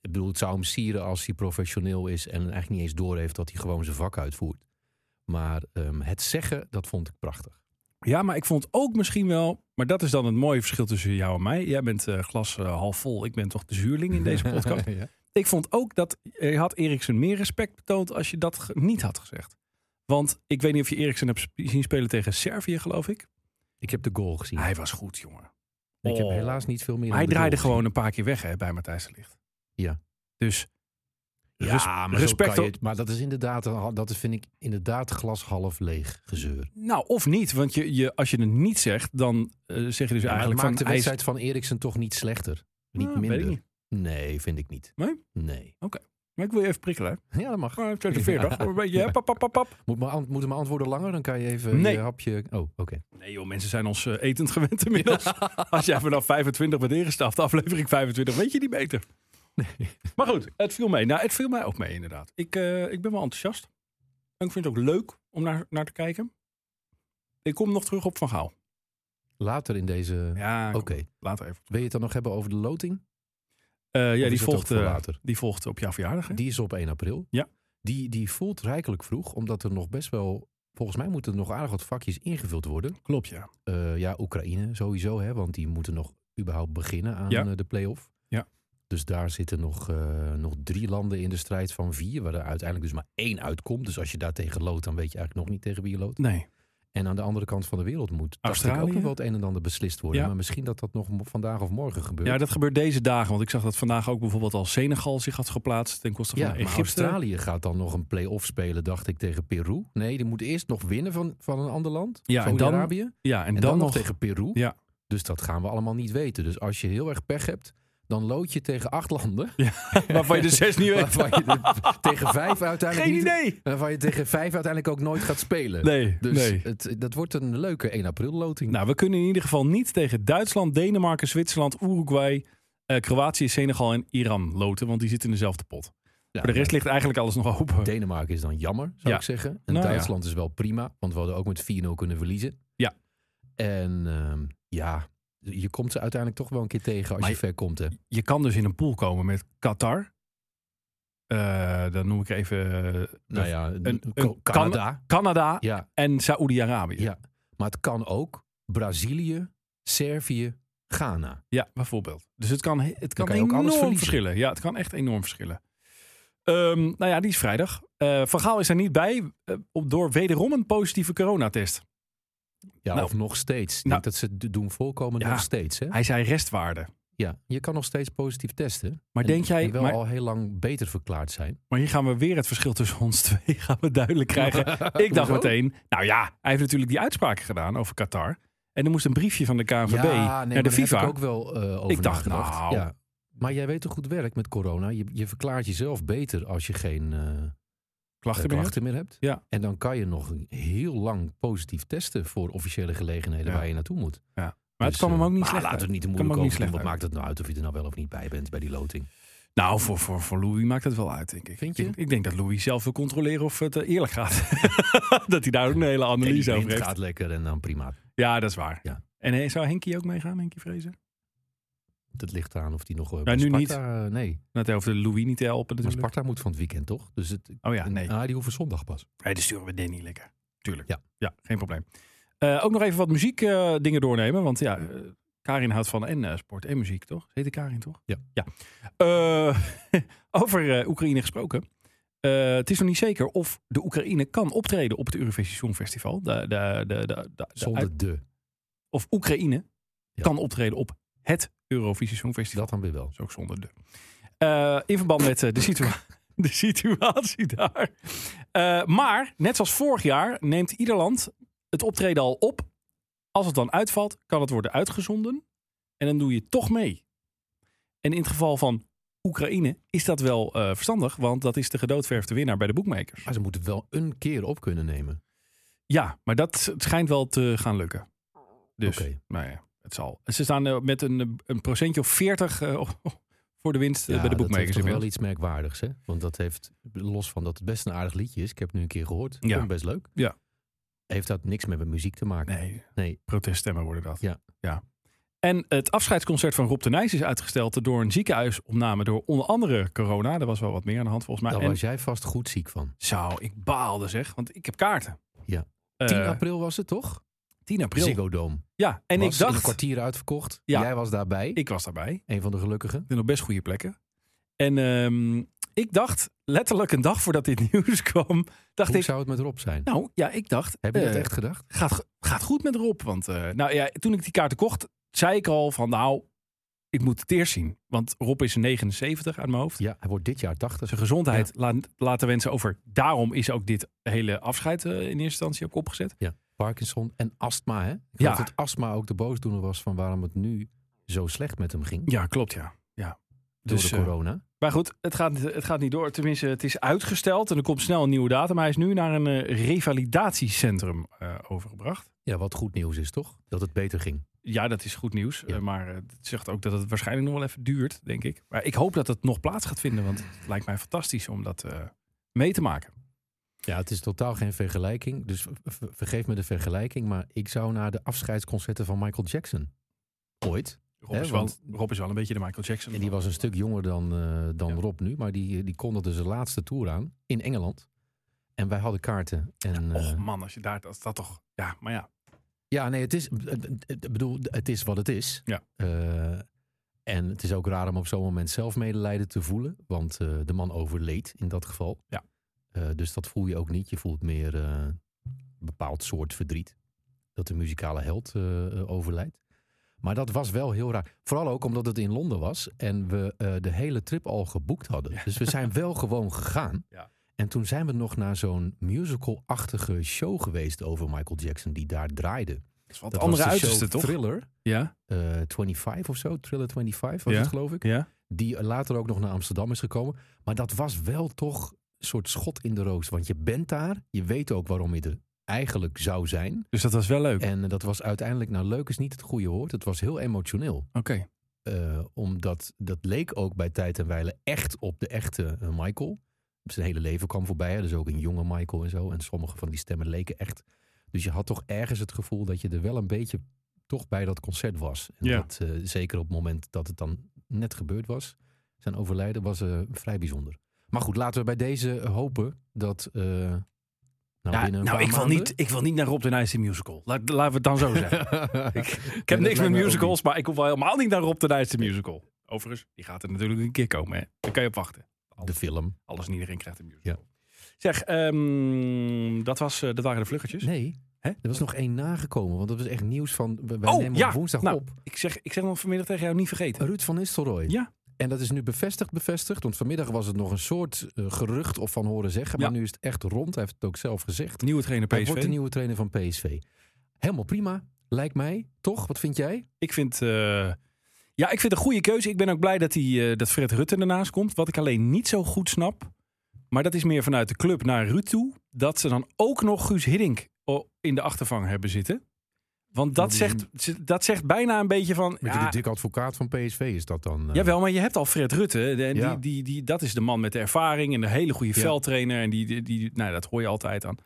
S4: Ik bedoel, het zou hem sieren als hij professioneel is en eigenlijk niet eens doorheeft dat hij gewoon zijn vak uitvoert. Maar ehm, het zeggen, dat vond ik prachtig.
S3: Ja, maar ik vond ook misschien wel, maar dat is dan het mooie verschil tussen jou en mij. Jij bent eh, glas eh, half vol, ik ben toch de zuurling in deze podcast.
S4: ja.
S3: ik vond ook dat eh, had Eriksen meer respect betoond als je dat ge- niet had gezegd. Want ik weet niet of je Eriksen hebt sp- zien spelen tegen Servië, geloof ik.
S4: Ik heb de goal gezien.
S3: Hij was goed, jongen.
S4: Ik heb
S3: Oh.
S4: helaas niet veel meer.
S3: Maar
S4: dan
S3: hij
S4: de
S3: draaide
S4: goal
S3: gewoon een paar keer weg hè, bij Matthijs de Ligt.
S4: Ja.
S3: Dus
S4: gezien.
S3: res-
S4: Ja, maar
S3: respect
S4: respect.
S3: op-
S4: maar dat is inderdaad, dat vind ik inderdaad glas half leeg gezeur.
S3: nou, of niet. Want je, je, als je het niet zegt, dan eh, zeg je dus
S4: Maar het
S3: eigenlijk
S4: maakt de
S3: van... hij is-
S4: wedstrijd van Eriksen toch niet slechter? Niet
S3: Nou, weet ik
S4: minder?
S3: niet.
S4: Nee, vind ik niet.
S3: Nee?
S4: Nee.
S3: Maar ik wil je even prikkelen. hè.
S4: Ja, dat mag.
S3: Gewoon 46. Een beetje, hè, pap, pap, pap, pap.
S4: Moet mijn, ant- moeten mijn antwoorden langer? Dan kan je even
S3: Nee.
S4: je hapje... Oh, oké.
S3: Nee joh, mensen zijn ons eh, etend gewend inmiddels. Als jij vanaf 25 bent ingestapt, aflevering 25, weet je niet beter. Maar goed, het viel mee. Nou, het viel mij ook mee inderdaad. Ik, eh, ik ben wel enthousiast. En ik vind het ook leuk om naar, naar te kijken. Ik kom nog terug op Van Gaal.
S4: Later in deze...
S3: Ja,
S4: Oké.
S3: later even.
S4: Wil je het dan nog hebben over de loting?
S3: Eh, ja,
S4: is
S3: die
S4: het
S3: volgt,
S4: ook voor
S3: eh,
S4: later?
S3: die volgt op jouw verjaardag. hè?
S4: Die is op 1 april.
S3: Ja.
S4: Die, die voelt rijkelijk vroeg, omdat er nog best wel... Volgens mij moeten er nog aardig wat vakjes ingevuld worden.
S3: Klopt, ja.
S4: Eh, ja, Oekraïne sowieso, hè, want die moeten nog überhaupt beginnen aan
S3: Ja.
S4: eh, de play-off.
S3: Ja.
S4: Dus daar zitten nog, eh, nog drie landen in de strijd van vier, waar er uiteindelijk dus maar één uitkomt. Dus als je daar tegen lood, dan weet je eigenlijk nog niet tegen wie je loodt.
S3: Nee.
S4: en aan de andere kant van de wereld moet. Dat is
S3: Australië?
S4: ook nog wel het een en ander beslist worden.
S3: Ja.
S4: Maar misschien dat dat nog mo- vandaag of morgen gebeurt.
S3: Ja, dat gebeurt deze dagen. Want ik zag dat vandaag ook bijvoorbeeld al Senegal zich had geplaatst ten koste van
S4: Ja, maar
S3: Egypte.
S4: Australië gaat dan nog een play-off spelen, dacht ik, tegen Peru. Nee, die moet eerst nog winnen van, van een ander land.
S3: Ja, en dan,
S4: Saudi-Arabië. En,
S3: ja, en,
S4: dan, nog tegen Peru.
S3: Ja.
S4: Dus dat gaan we allemaal niet weten. Dus als je heel erg pech hebt, dan lood je tegen acht landen.
S3: waarvan je de zes niet weet.
S4: Waarvan je de- tegen vijf uiteindelijk
S3: Geen
S4: niet-
S3: idee.
S4: waarvan je tegen vijf uiteindelijk ook nooit gaat spelen.
S3: Nee,
S4: Dus
S3: nee.
S4: Het, dat wordt een leuke 1 april loting.
S3: Nou, we kunnen in ieder geval niet tegen Duitsland, Denemarken, Zwitserland, Uruguay, eh, Kroatië, Senegal en Iran loten. Want die zitten in dezelfde pot.
S4: Ja,
S3: Voor de rest ligt eigenlijk alles nog open.
S4: Denemarken is dan jammer, zou
S3: Ja.
S4: ik zeggen. En
S3: Nou ja.
S4: Duitsland is wel prima, want we hadden ook met 4-0 kunnen verliezen.
S3: Ja.
S4: En ehm, ja, je komt ze uiteindelijk toch wel een keer tegen als
S3: Maar
S4: je
S3: je-
S4: ver komt. Hè.
S3: Je kan dus in een pool komen met Qatar. Eh, dan noem ik even eh,
S4: Nou ja,
S3: een-
S4: Co-
S3: een-
S4: Canada.
S3: Canada
S4: Ja,
S3: en Saoedi-Arabië.
S4: ja, maar het kan ook Brazilië, Servië, Ghana.
S3: Ja, bijvoorbeeld. Dus het kan, het kan,
S4: kan je ook alles
S3: enorm
S4: verliezen.
S3: verschillen. Ja, het kan echt enorm verschillen. Ehm, nou ja, die is vrijdag. Eh Van Gaal is er niet bij eh, op door wederom een positieve coronatest.
S4: Ja,
S3: Nou.
S4: of nog steeds. Ik
S3: Nou.
S4: denk dat ze het doen voorkomen
S3: Ja.
S4: nog steeds. Hè?
S3: Hij zei restwaarde.
S4: Ja, je kan nog steeds positief testen.
S3: Maar
S4: En-
S3: denk jij-
S4: en wel
S3: maar-
S4: al heel lang beter verklaard zijn.
S3: Maar hier gaan we weer het verschil tussen ons twee gaan we duidelijk krijgen. Ik dacht
S4: Hoezo?
S3: meteen, nou ja, hij heeft natuurlijk die uitspraken gedaan over Qatar. En er moest een briefje van de KNVB
S4: ja, nee,
S3: naar de
S4: maar daar heb
S3: FIFA.
S4: ik ook wel eh, over
S3: Ik dacht,
S4: nagedacht.
S3: nou.
S4: Ja. Maar jij weet toch goed werk met corona? Je, je verklaart jezelf beter als je geen eh,
S3: Klachten meer?
S4: klachten meer hebt.
S3: Ja.
S4: En dan kan je nog heel lang positief testen voor officiële gelegenheden
S3: Ja.
S4: waar je naartoe moet.
S3: Maar het
S4: Dus,
S3: kwam hem
S4: eh,
S3: ook niet
S4: maar
S3: slecht
S4: laten
S3: uit.
S4: we het niet te
S3: Kwam
S4: moeilijk
S3: ook niet
S4: over doen.
S3: slecht
S4: Wat
S3: uit.
S4: maakt het nou uit of je er nou wel of niet bij bent bij die loting?
S3: Nou, voor, voor, voor Louis maakt het wel uit, denk ik.
S4: Vind
S3: Ik,
S4: je?
S3: denk- ik denk dat Louis zelf wil controleren of het eh, eerlijk gaat. dat hij daar ook een hele
S4: En die
S3: analyse over
S4: wind
S3: heeft.
S4: gaat lekker en dan prima.
S3: Ja, dat is waar.
S4: Ja.
S3: En eh, zou Henkie ook meegaan, Henkie Vrezen?
S4: Dat ligt eraan of die nog eh,
S3: Ja,
S4: bij
S3: nu niet.
S4: Sparta... eh, nee,
S3: Nou, hij hoeft de Louis niet te helpen
S4: maar
S3: natuurlijk.
S4: Sparta moet van het weekend toch? Dus het,
S3: Oh ja, nee.
S4: Ah, die hoeven zondag pas.
S3: Nee, dan sturen we Danny lekker. Tuurlijk.
S4: Ja.
S3: ja geen probleem. Eh, ook nog even wat muziekdingen dingen doornemen. Want ja, eh, Karin houdt van en eh, sport en muziek, toch? Heet Karin, toch?
S4: Ja.
S3: ja. Eh, over eh, Oekraïne gesproken. Eh, het is nog niet zeker of de Oekraïne kan optreden op het Eurovisie Songfestival. De, de, de, de, de- de-
S4: Zonder de.
S3: of Oekraïne
S4: Ja.
S3: kan optreden op het Eurovisie Songfestival.
S4: Dat dan weer wel.
S3: Dat is ook zonder de. Eh, in verband met eh, de, situa- de situatie daar. Eh, maar, net zoals vorig jaar, neemt ieder land het optreden al op. Als het dan uitvalt, kan het worden uitgezonden. En dan doe je toch mee. En in het geval van Oekraïne is dat wel eh, verstandig, want dat is de gedoodverfde winnaar bij de boekmakers.
S4: Maar ze moeten het wel een keer op kunnen nemen.
S3: Ja, maar dat het schijnt wel te gaan lukken. Dus,
S4: Oké.
S3: nou ja, het zal. Ze staan eh, met een, eh, een procentje of 40 eh, voor de winst eh,
S4: Ja,
S3: bij de
S4: dat heeft
S3: boekmakers.
S4: toch wel
S3: inmiddels.
S4: iets merkwaardigs, hè? Want dat heeft, los van dat het best een aardig liedje is, ik heb het nu een keer gehoord,
S3: Ja.
S4: ja. best leuk.
S3: Ja.
S4: Heeft dat niks meer met muziek te maken?
S3: Nee,
S4: Nee.
S3: proteststemmen worden dat.
S4: Ja.
S3: ja. En het afscheidsconcert van Rob de Nijs is uitgesteld door een ziekenhuisopname door onder andere corona. Er was wel wat meer aan de hand volgens mij.
S4: Daar
S3: en
S4: was jij vast goed ziek van.
S3: zou ik baalde zeg, want ik heb kaarten.
S4: Ja.
S3: Eh,
S4: 10 april was het toch?
S3: 10 april.
S4: Ziggo Dome.
S3: Ja, en
S4: was
S3: ik
S4: een
S3: dacht,
S4: kwartier uitverkocht.
S3: Ja.
S4: Jij was daarbij.
S3: ik was daarbij.
S4: Een van de gelukkigen.
S3: Ik ben op best goede plekken. En ehm, ik dacht, letterlijk een dag voordat dit nieuws kwam, dacht
S4: Hoe
S3: ik,
S4: zou het met Rob zijn?
S3: nou ja, ik dacht,
S4: heb je dat
S3: eh,
S4: echt gedacht?
S3: gaat, gaat goed met Rob. Want eh, nou ja, toen ik die kaarten kocht, zei ik al van nou, ik moet het eerst zien. Want Rob is 79 uit mijn hoofd.
S4: Ja, hij wordt dit jaar 80.
S3: Zijn gezondheid laat- laten wensen over. Daarom is ook dit hele afscheid eh, in eerste instantie ook opgezet.
S4: Ja. Parkinson en astma, hè? Ik
S3: Ja.
S4: ja. dat astma ook de boosdoener was van waarom het nu zo slecht met hem ging.
S3: Ja, klopt ja. ja.
S4: door
S3: Dus,
S4: de
S3: eh,
S4: corona.
S3: maar goed, het gaat, het gaat niet door. Tenminste, het is uitgesteld en er komt snel een nieuwe datum. Hij is nu naar een eh, revalidatiecentrum eh, overgebracht.
S4: Ja, wat goed nieuws is toch? Dat het beter ging.
S3: Ja, dat is goed nieuws.
S4: Ja.
S3: Eh, maar eh, het zegt ook dat het waarschijnlijk nog wel even duurt, denk ik. Maar ik hoop dat het nog plaats gaat vinden, want het lijkt mij fantastisch om dat eh, mee te maken.
S4: Ja, het is totaal geen vergelijking. Dus ver- ver- vergeef me de vergelijking. Maar ik zou naar de afscheidsconcerten van Michael Jackson. Ooit.
S3: Rob,
S4: Hè,
S3: is, wel,
S4: want-
S3: Rob is wel een beetje de Michael Jackson.
S4: En die was een stuk jonger dan, eh, dan
S3: Ja.
S4: Rob nu. Maar die, die kondigde zijn laatste tour aan in Engeland. En wij hadden kaarten. En, eh,
S3: Och man, als je daar, dat, dat toch... Ja, maar ja.
S4: Ja, nee, het is, het- het- het- ik bedoel, het is wat het is.
S3: Ja.
S4: Eh, en het is ook raar om op zo'n moment zelf medelijden te voelen. Want eh, de man overleed in dat geval.
S3: Ja.
S4: Eh, dus dat voel je ook niet. Je voelt meer eh, een bepaald soort verdriet. dat de muzikale held eh, eh, overlijdt. Maar dat was wel heel raar. Vooral ook omdat het in Londen was en we eh, de hele trip al geboekt hadden. Dus we zijn wel gewoon gegaan.
S3: Ja.
S4: En toen zijn we nog naar zo'n musical-achtige show geweest over Michael Jackson die daar draaide.
S3: Dat is wat
S4: Dat
S3: andere
S4: was de show
S3: uiterste, toch?
S4: Thriller
S3: Ja,
S4: eh, 25 of zo. Thriller 25 was
S3: Ja.
S4: het geloof ik.
S3: ja.
S4: Die later ook nog naar Amsterdam is gekomen. Maar dat was wel toch een soort schot in de roos. Want je bent daar. Je weet ook waarom je er eigenlijk zou zijn.
S3: Dus dat was wel leuk. Oké.
S4: En eh, dat was uiteindelijk, nou leuk is niet het goede woord. Het was heel emotioneel. Eh, omdat dat leek ook bij Tijd en Weilen echt op de echte eh, Michael. Zijn hele leven kwam voorbij. hè. Dus ook een jonge Michael en zo. En sommige van die stemmen leken echt. Dus je had toch ergens het gevoel dat je er wel een beetje toch bij dat concert was. En
S3: Ja.
S4: dat, eh, zeker op het moment dat het dan net gebeurd was. Zijn overlijden was eh, vrij bijzonder. Maar goed, laten we bij deze hopen dat... eh, nou,
S3: Ja,
S4: binnen een
S3: nou,
S4: paar
S3: ik wil,
S4: maanden-
S3: niet, ik wil niet naar Rob de Nijs in musical. Laat- Laten we het dan zo zeggen. ik, ik
S4: dat
S3: heb niks met
S4: lijkt mij ook
S3: musicals, maar ik hoef wel helemaal niet naar Rob de Nijs in musical. Overigens, die gaat er natuurlijk een keer komen. Hè? Daar kan je op wachten.
S4: De film.
S3: Alles en iedereen krijgt een musical. Zeg, ehm, dat, was, eh, dat waren de vluggetjes.
S4: Nee,
S3: Hè?
S4: er was nog één nagekomen. Want dat was echt nieuws van... Wij
S3: Oh,
S4: nemen
S3: ja.
S4: op woensdag
S3: Nou,
S4: op.
S3: Ik zeg, ik zeg hem vanmiddag tegen jou niet vergeten.
S4: Ruud van Nistelrooy.
S3: Ja.
S4: En dat is nu bevestigd, bevestigd. Want vanmiddag was het nog een soort eh, gerucht of van horen zeggen. Maar
S3: Ja.
S4: nu is het echt rond. Hij heeft het ook zelf gezegd.
S3: Nieuwe trainer
S4: Hij wordt de
S3: PSV.
S4: nieuwe trainer van PSV. Helemaal prima, lijkt mij. Toch? Wat vind jij?
S3: Ik vind, eh, ja, ik vind het een goede keuze. Ik ben ook blij dat, die, eh, dat Fred Rutte ernaast komt. Wat ik alleen niet zo goed snap. Maar dat is meer vanuit de club naar Ruud toe. Dat ze dan ook nog Guus Hiddink o- in de achtervang hebben zitten. Want dat,
S4: die-
S3: zegt, ze- dat zegt bijna een beetje van...
S4: Beetje
S3: ja,
S4: de dik advocaat van PSV is dat dan? eh?
S3: Jawel, maar je hebt al Fred Rutte. De- en
S4: Ja.
S3: die, die, die, dat is de man met de ervaring en de hele goede
S4: Ja.
S3: veldtrainer. En die, die, die, nou, dat hoor je altijd aan.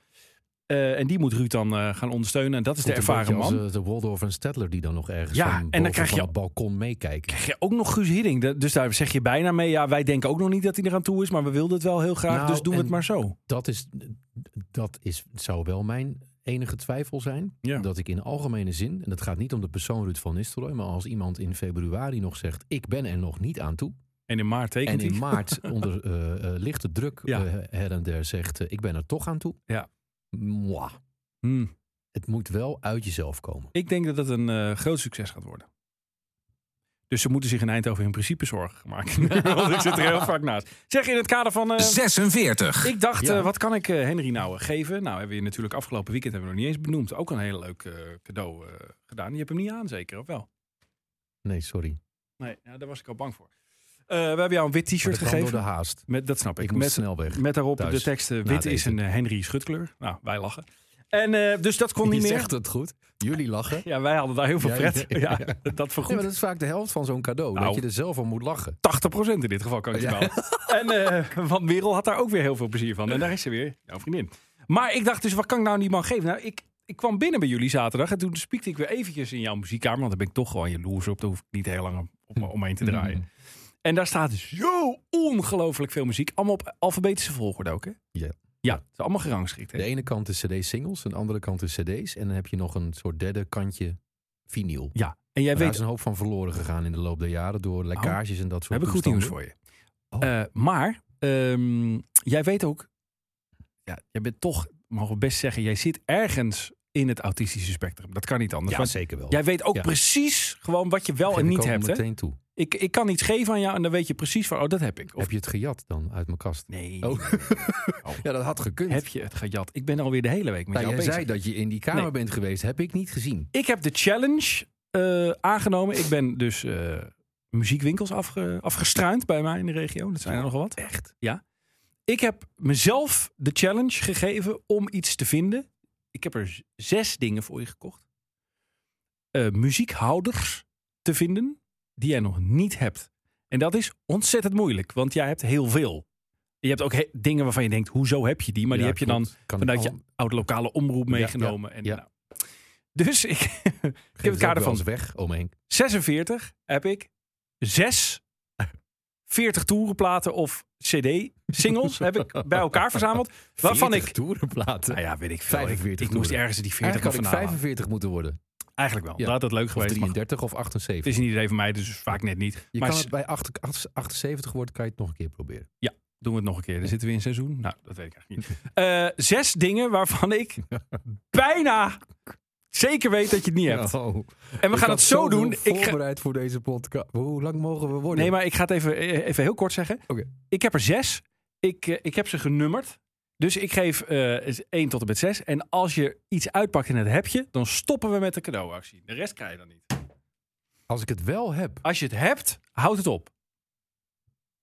S3: Eh, en die moet Ruud dan eh, gaan ondersteunen. En dat is de
S4: Komt een
S3: ervaren
S4: beetje
S3: man.
S4: Als, eh, de Waldorf en Stedtler die dan nog ergens
S3: Ja,
S4: van
S3: en dan
S4: boven
S3: krijg
S4: van
S3: je-
S4: het balkon meekijken.
S3: krijg je ook nog Guus Hiddink. Da- Dus daar zeg je bijna mee, ja, wij denken ook nog niet dat hij eraan toe is, maar we wilden het wel heel graag,
S4: Nou,
S3: dus doen we
S4: en-
S3: het maar zo.
S4: Dat, is, dat is, zou wel mijn enige twijfel zijn.
S3: Ja.
S4: Dat ik in algemene zin, en dat gaat niet om de persoon Ruud van Nistelrooy... maar als iemand in februari nog zegt, ik ben er nog niet aan toe...
S3: En in maart tekent
S4: en in
S3: hij.
S4: maart onder eh, eh, lichte druk
S3: Ja.
S4: eh, her en der zegt, eh, ik ben er toch aan toe...
S3: Ja.
S4: Mwah.
S3: Hmm.
S4: het moet wel uit jezelf komen.
S3: Ik denk dat dat een eh, groot succes gaat worden. Dus ze moeten zich in Eindhoven in principe zorgen maken. Want ik zit er heel vaak naast. Zeg, in het kader van... eh,
S1: 46.
S3: ik dacht,
S4: Ja.
S3: eh, wat kan ik eh, Henry nou eh, geven? Nou, hebben we natuurlijk afgelopen weekend hebben we nog niet eens benoemd. Ook een heel leuk eh, cadeau eh, gedaan. Je hebt hem niet aan, zeker, of wel?
S4: Nee, sorry. Maar
S3: Nee, nou, daar was ik al bang voor. Eh, we hebben jou een wit
S4: dat
S3: t-shirt
S4: kwam
S3: gegeven.
S4: door de haast.
S3: Met, dat snap ik.
S4: Ik moest
S3: Met-
S4: snel weg.
S3: Met daarop
S4: Thuis.
S3: de teksten:
S4: Na het
S3: wit is
S4: eten.
S3: een eh, Henry schutkleur. Nou, wij lachen. En eh, dus dat kon
S4: Je
S3: niet meer.
S4: zegt het goed. Jullie lachen.
S3: Ja, wij hadden daar heel veel
S4: Ja,
S3: pret. Ja,
S4: ja, ja.
S3: dat
S4: Ja, maar
S3: vergoedt
S4: dat is vaak de helft van zo'n cadeau.
S3: Nou.
S4: Dat je er zelf om moet lachen.
S3: 80% in dit geval, kan ik je
S4: Ja.
S3: wel. En eh Van Merel had daar ook weer heel veel plezier van. En daar is ze weer, jouw vriendin. Maar ik dacht dus, wat kan ik nou die man geven? Nou, ik, ik kwam binnen bij jullie zaterdag en toen spiekte ik weer eventjes in jouw muziekkamer. Want daar ben ik toch gewoon jaloers op. Daar hoef ik niet heel lang om, omheen te draaien.
S4: Mm.
S3: En daar staat dus zo ongelooflijk veel muziek. Allemaal op alfabetische volgorde ook, hè?
S4: Ja.
S3: Ja, het is allemaal gerangschikt. hè?
S4: De ene kant is cd-singles, en de andere kant is cd's. En dan heb je nog een soort derde kantje vinyl.
S3: Ja, en jij
S4: Daar
S3: weet Oh,
S4: is een hoop van verloren gegaan in de loop der jaren door lekkages en dat
S3: We
S4: soort
S3: hebben goed
S4: toestanden.
S3: nieuws voor je.
S4: Oh.
S3: Eh, maar ehm, jij weet ook, ja, jij bent toch, mogen we best zeggen, jij zit ergens in het autistische spectrum. Dat kan niet anders.
S4: Ja,
S3: want
S4: zeker wel.
S3: jij weet ook
S4: Ja.
S3: precies gewoon wat je wel
S4: Geef
S3: en
S4: ik
S3: niet
S4: ook
S3: hebt. Hè?
S4: meteen toe.
S3: Ik, ik kan iets geven aan jou en dan weet je precies van, oh, dat heb ik. Of
S4: Heb je het gejat dan uit mijn kast?
S3: nee,
S4: Oh. ja, dat had gekund.
S3: heb je het gejat? Ik ben alweer de hele week met
S4: Nou,
S3: jou
S4: jij
S3: bezig.
S4: zei dat je in die kamer
S3: Nee.
S4: bent geweest. Heb ik niet gezien.
S3: Ik heb de challenge eh, aangenomen. Ik ben dus eh, muziekwinkels afge- afgestruind bij mij in de regio. Dat zijn er nogal wat. Echt? Ja. Ik heb mezelf de challenge gegeven om iets te vinden. Ik heb er z- zes dingen voor je gekocht. Eh, muziekhouders te vinden die jij nog niet hebt. En dat is ontzettend moeilijk, want jij hebt heel veel. Je hebt ook he- dingen waarvan je denkt, hoezo heb je die? Maar die
S4: Ja,
S3: heb je dan
S4: klopt. Kan ik
S3: vanuit
S4: al-
S3: je oude lokale omroep
S4: Ja,
S3: meegenomen. En,
S4: ja.
S3: nou. Dus ik,
S4: geef
S3: het
S4: ook
S3: kader
S4: wel
S3: van.
S4: eens weg, oom Henk.
S3: 46 heb ik. 6 40 toerenplaten of CD singles heb ik bij elkaar verzameld. Waarvan
S4: 40
S3: ik.
S4: toerenplaten.
S3: Nou ja, weet ik veel. Ik-
S4: 45
S3: Ik, moest
S4: toeren.
S3: ergens die 40
S4: Eigenlijk
S3: nog
S4: had ik
S3: vandaan halen.
S4: 45 moeten worden.
S3: Eigenlijk wel.
S4: Ja.
S3: Dat had leuk
S4: Of
S3: geweest. maar
S4: 33 of
S3: het
S4: 78.
S3: is een idee van mij, dus vaak net niet.
S4: Je
S3: maar
S4: kan
S3: s-
S4: het bij 8 78 worden, kan je het nog een keer proberen.
S3: doen we het nog een keer. Dan zitten we in seizoen. Nou, dat weet ik eigenlijk niet. Eh, zes dingen waarvan ik bijna Zeker weet dat je het niet hebt.
S4: Oh.
S3: En we
S4: Ik
S3: gaan
S4: had
S3: het zo
S4: zoveel
S3: doen. Ik ga-
S4: voorbereid voor deze podcast. Hoe lang mogen we worden?
S3: Nee, maar ik ga het even, eh, even heel kort zeggen.
S4: Oké.
S3: Ik heb er zes. Ik, eh, ik heb ze genummerd. Dus ik geef eh 1 tot en met 6. En als je iets uitpakt en het heb je, dan stoppen we met de cadeauactie. De rest krijg je dan niet.
S4: Als ik het wel heb.
S3: Als je het hebt, houd het op.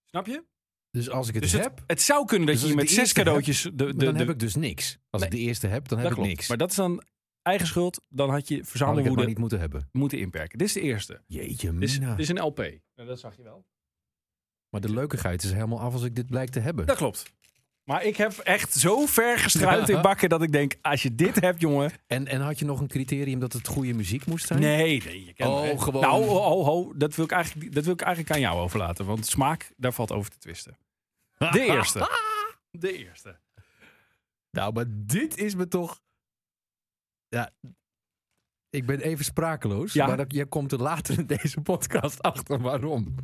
S3: Snap je?
S4: Dus als ik het
S3: Dus
S4: heb,
S3: het, het zou kunnen dat
S4: Dus
S3: je
S4: als ik
S3: met
S4: de
S3: zes
S4: eerste
S3: cadeautjes... De, de,
S4: dan
S3: de-
S4: heb ik dus niks. Als ik de eerste heb, dan heb
S3: dat
S4: ik
S3: klopt.
S4: niks.
S3: Maar dat is dan eigen schuld. Dan had je
S4: Had ik het maar
S3: verzamelwoede
S4: niet moeten hebben.
S3: moeten inperken. Dit is de eerste.
S4: Jeetje
S3: Dit is,
S4: mina.
S3: dit is een LP. Nou, dat zag je wel.
S4: Maar de leukigheid is helemaal af als ik dit blijk te hebben.
S3: Dat klopt. Maar ik heb echt zo ver gestruind in bakken dat ik denk, als je dit hebt, jongen.
S4: En, en had je nog een criterium dat het goede muziek moest zijn?
S3: Nee, nee, je kent
S4: Oh,
S3: me, hè.
S4: gewoon.
S3: Nou, ho, ho, ho, dat, wil ik eigenlijk, dat wil ik eigenlijk aan jou overlaten. Want smaak, daar valt over te twisten. De eerste. De eerste.
S4: Nou, maar dit is me toch... Ja, ik ben even sprakeloos.
S3: Ja.
S4: Maar dat, jij komt er later in deze podcast achter waarom.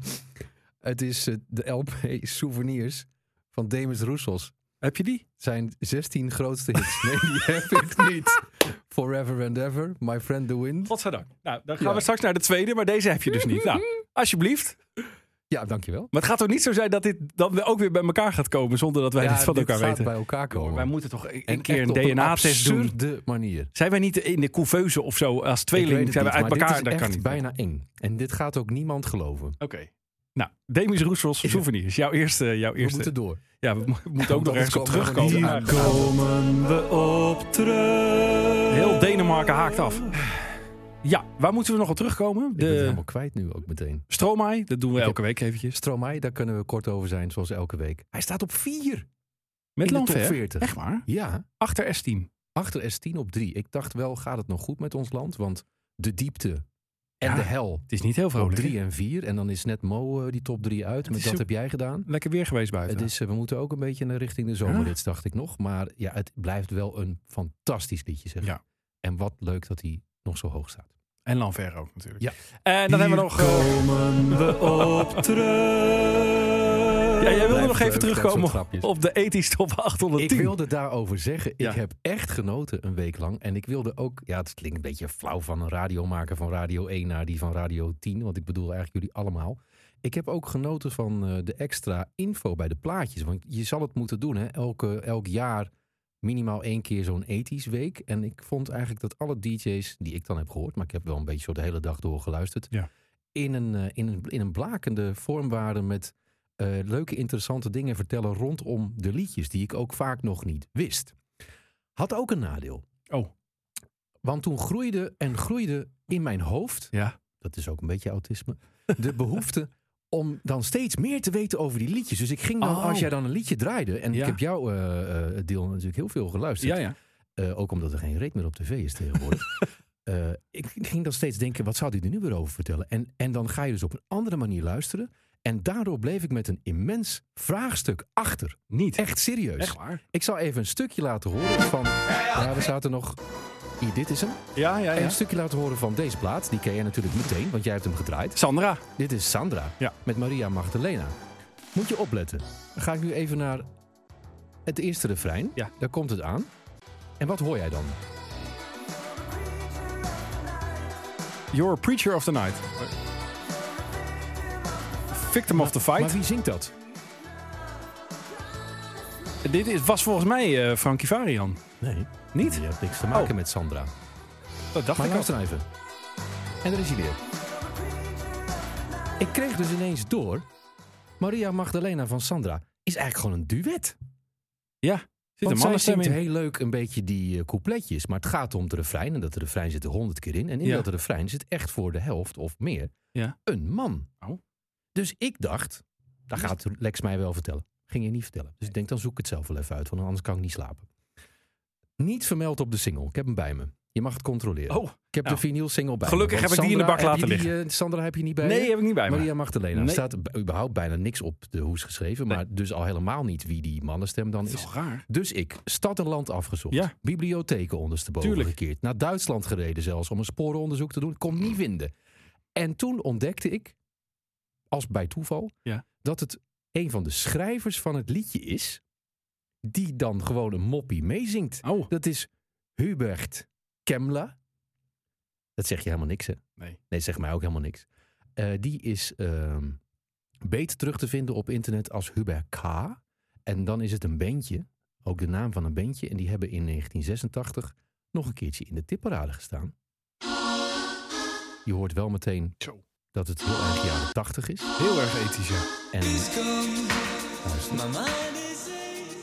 S4: Het is eh, de LP Souvenirs van Demis Roussos.
S3: Heb je die?
S4: Zijn 16 grootste hits. Nee, die heb ik niet. Forever and Ever, My Friend the Wind.
S3: Godzijdank. Nou, dan gaan
S4: Ja.
S3: we straks naar de tweede, maar deze heb je dus niet. Nou, alsjeblieft.
S4: Ja, dankjewel.
S3: Maar het gaat toch niet zo zijn dat dit dan ook weer bij elkaar gaat komen zonder dat wij dit van
S4: dit
S3: elkaar
S4: gaat
S3: weten.
S4: bij elkaar komen.
S3: Wij moeten toch een
S4: En
S3: keer
S4: e- echt
S3: een
S4: op
S3: DNA-test doen.
S4: absurde manier.
S3: Zijn wij niet in de couveuse of zo als
S4: Ik weet
S3: tweeling?
S4: het
S3: Zijn we
S4: niet,
S3: uit
S4: maar dit
S3: elkaar?
S4: is
S3: Dat
S4: echt
S3: kan niet.
S4: bijna eng. En dit gaat ook niemand geloven.
S3: Oké. Nou, Demis Roesels Souvenirs. Jouw eerste. eh, Jouw
S4: We
S3: eerste.
S4: moeten door.
S3: Ja, we mo- we moeten ook nog ergens
S4: Anders
S3: op
S4: komen we
S3: terugkomen.
S4: niet
S3: Hier komen we op terug. Heel Denemarken haakt af. Ja, waar moeten we nog op terugkomen?
S4: Ik ben het
S3: De
S4: helemaal kwijt nu ook meteen.
S3: Stromae, dat doen we elke week eventjes.
S4: Stromae, daar kunnen we kort over zijn, zoals elke week. Hij staat op 4.
S3: Met
S4: In de top
S3: Lanfer.
S4: 40.
S3: Echt waar?
S4: Ja,
S3: Achter S10.
S4: achter S10 op 3. Ik dacht wel, gaat het nog goed met ons land? Want de diepte en
S3: Ja,
S4: de hel
S3: Het is niet heel
S4: op
S3: vrolijk.
S4: 3
S3: hè?
S4: en 4. En dan is net Mo eh, die top 3 uit. Met
S3: is
S4: dat
S3: zo-
S4: heb jij gedaan.
S3: Lekker weer geweest buiten.
S4: Het is, eh, we moeten ook een beetje in de richting de zomerrits, dacht ik nog. Maar ja, het blijft wel een fantastisch liedje, zeg.
S3: Ja.
S4: En wat leuk dat hij nog zo hoog staat.
S3: En Lanfer ook natuurlijk.
S4: Ja.
S3: En dan hebben we nog... eh, op terug. Ja, jij wilde
S4: Blijft
S3: nog even
S4: leuk, dat soort
S3: terugkomen
S4: grapjes.
S3: op de ethisch top 810.
S4: Ik wilde daarover zeggen,
S3: Ja.
S4: ik heb echt genoten een week lang. En ik wilde ook, ja, het klinkt een beetje flauw van een radiomaker van Radio 1 naar die van Radio 10. Want ik bedoel eigenlijk jullie allemaal. Ik heb ook genoten van eh, de extra info bij de plaatjes. Want je zal het moeten doen, hè. Elke, elk jaar minimaal één keer zo'n ethisch week. En ik vond eigenlijk dat alle DJ's die ik dan heb gehoord... maar ik heb wel een beetje zo de hele dag door geluisterd...
S3: Ja.
S4: In, een, eh, in, een, in een blakende vorm waren met eh, leuke, interessante dingen vertellen rondom de liedjes, die ik ook vaak nog niet wist. Had ook een nadeel.
S3: Oh,
S4: Want toen groeide en groeide in mijn hoofd,
S3: ja.
S4: dat is ook een beetje autisme, de behoefte om dan steeds meer te weten over die liedjes. Dus ik ging dan,
S3: Oh.
S4: als jij dan een liedje draaide, en
S3: Ja.
S4: ik heb jouw eh, eh, deel natuurlijk heel veel geluisterd.
S3: Ja, ja.
S4: Eh, ook omdat er geen reet meer op tv is tegenwoordig. Eh, ik ging dan steeds denken, wat zou hij er nu weer over vertellen? En, en dan ga je dus op een andere manier luisteren. En daardoor bleef ik met een immens vraagstuk achter.
S3: Niet.
S4: Echt serieus.
S3: Echt waar?
S4: Ik zal even een stukje laten horen van... Ja, we zaten nog... Hier, dit is hem.
S3: Ja, ja,
S4: En een stukje laten horen van deze plaat. Die ken jij natuurlijk meteen, want jij hebt hem gedraaid.
S3: Sandra.
S4: Dit is Sandra
S3: Ja.
S4: met Maria Magdalena. Moet je opletten. Dan ga ik nu even naar het eerste refrein.
S3: Ja.
S4: Daar komt het aan. En wat hoor jij dan?
S3: You're a preacher of the night. Victim of the
S4: Maar
S3: fight.
S4: wie zingt dat?
S3: Dit is, was volgens mij eh Frankie Varian.
S4: Nee.
S3: Niet?
S4: Je hebt niks te maken
S3: Oh.
S4: met Sandra.
S3: Dat dacht
S4: Maar
S3: ik al.
S4: luister nou even. En daar is hij weer. Ik kreeg dus ineens door... Maria Magdalena van Sandra is eigenlijk gewoon een duet.
S3: Ja, zit een
S4: Want zij
S3: mannenstem
S4: zingt
S3: in.
S4: heel leuk een beetje die eh, coupletjes. Maar het gaat om het refrein. En dat refrein zit er honderd keer in. En in
S3: Ja.
S4: dat refrein zit echt voor de helft of meer
S3: Ja.
S4: een man.
S3: Oh.
S4: Dus ik dacht, dat gaat Lex mij wel vertellen. Ging je niet vertellen. Dus ik denk, dan zoek ik het zelf wel even uit. Want anders kan ik niet slapen. Niet vermeld op de single. Ik heb hem bij me. Je mag het controleren.
S3: Oh,
S4: ik heb
S3: nou.
S4: de vinyl single bij
S3: Gelukkig
S4: me. Want
S3: heb ik die in de bak
S4: Sandra, heb
S3: laten
S4: je die, eh, Sandra heb je niet bij je?
S3: Nee, heb ik niet bij me.
S4: Maria Magdalena. Er
S3: Nee.
S4: staat b- überhaupt bijna niks op de hoes geschreven. Maar dus al helemaal niet wie die mannenstem dan
S3: Dat is
S4: is.
S3: toch raar?
S4: Dus ik, stad en land afgezocht.
S3: Ja.
S4: Bibliotheken ondersteboven
S3: Tuurlijk.
S4: gekeerd. Naar Duitsland gereden zelfs om een sporenonderzoek te doen. Ik kon het niet vinden. En toen ontdekte ik, als bij toeval,
S3: Ja.
S4: dat het een van de schrijvers van het liedje is... die dan gewoon een moppie meezingt.
S3: Oh,
S4: Dat is Hubert Kemla. Dat zeg je helemaal niks, hè?
S3: Nee.
S4: Nee, zeg mij ook helemaal niks. Eh, die is ehm, beter terug te vinden op internet als Hubert K. En dan is het een bandje, ook de naam van een bandje. En die hebben in 1986 nog een keertje in de tipparade gestaan. Je hoort wel meteen
S3: Zo.
S4: dat het heel erg jaren 80 is.
S3: Heel erg ethisch, ja.
S4: En
S5: Disco. My mind is aching.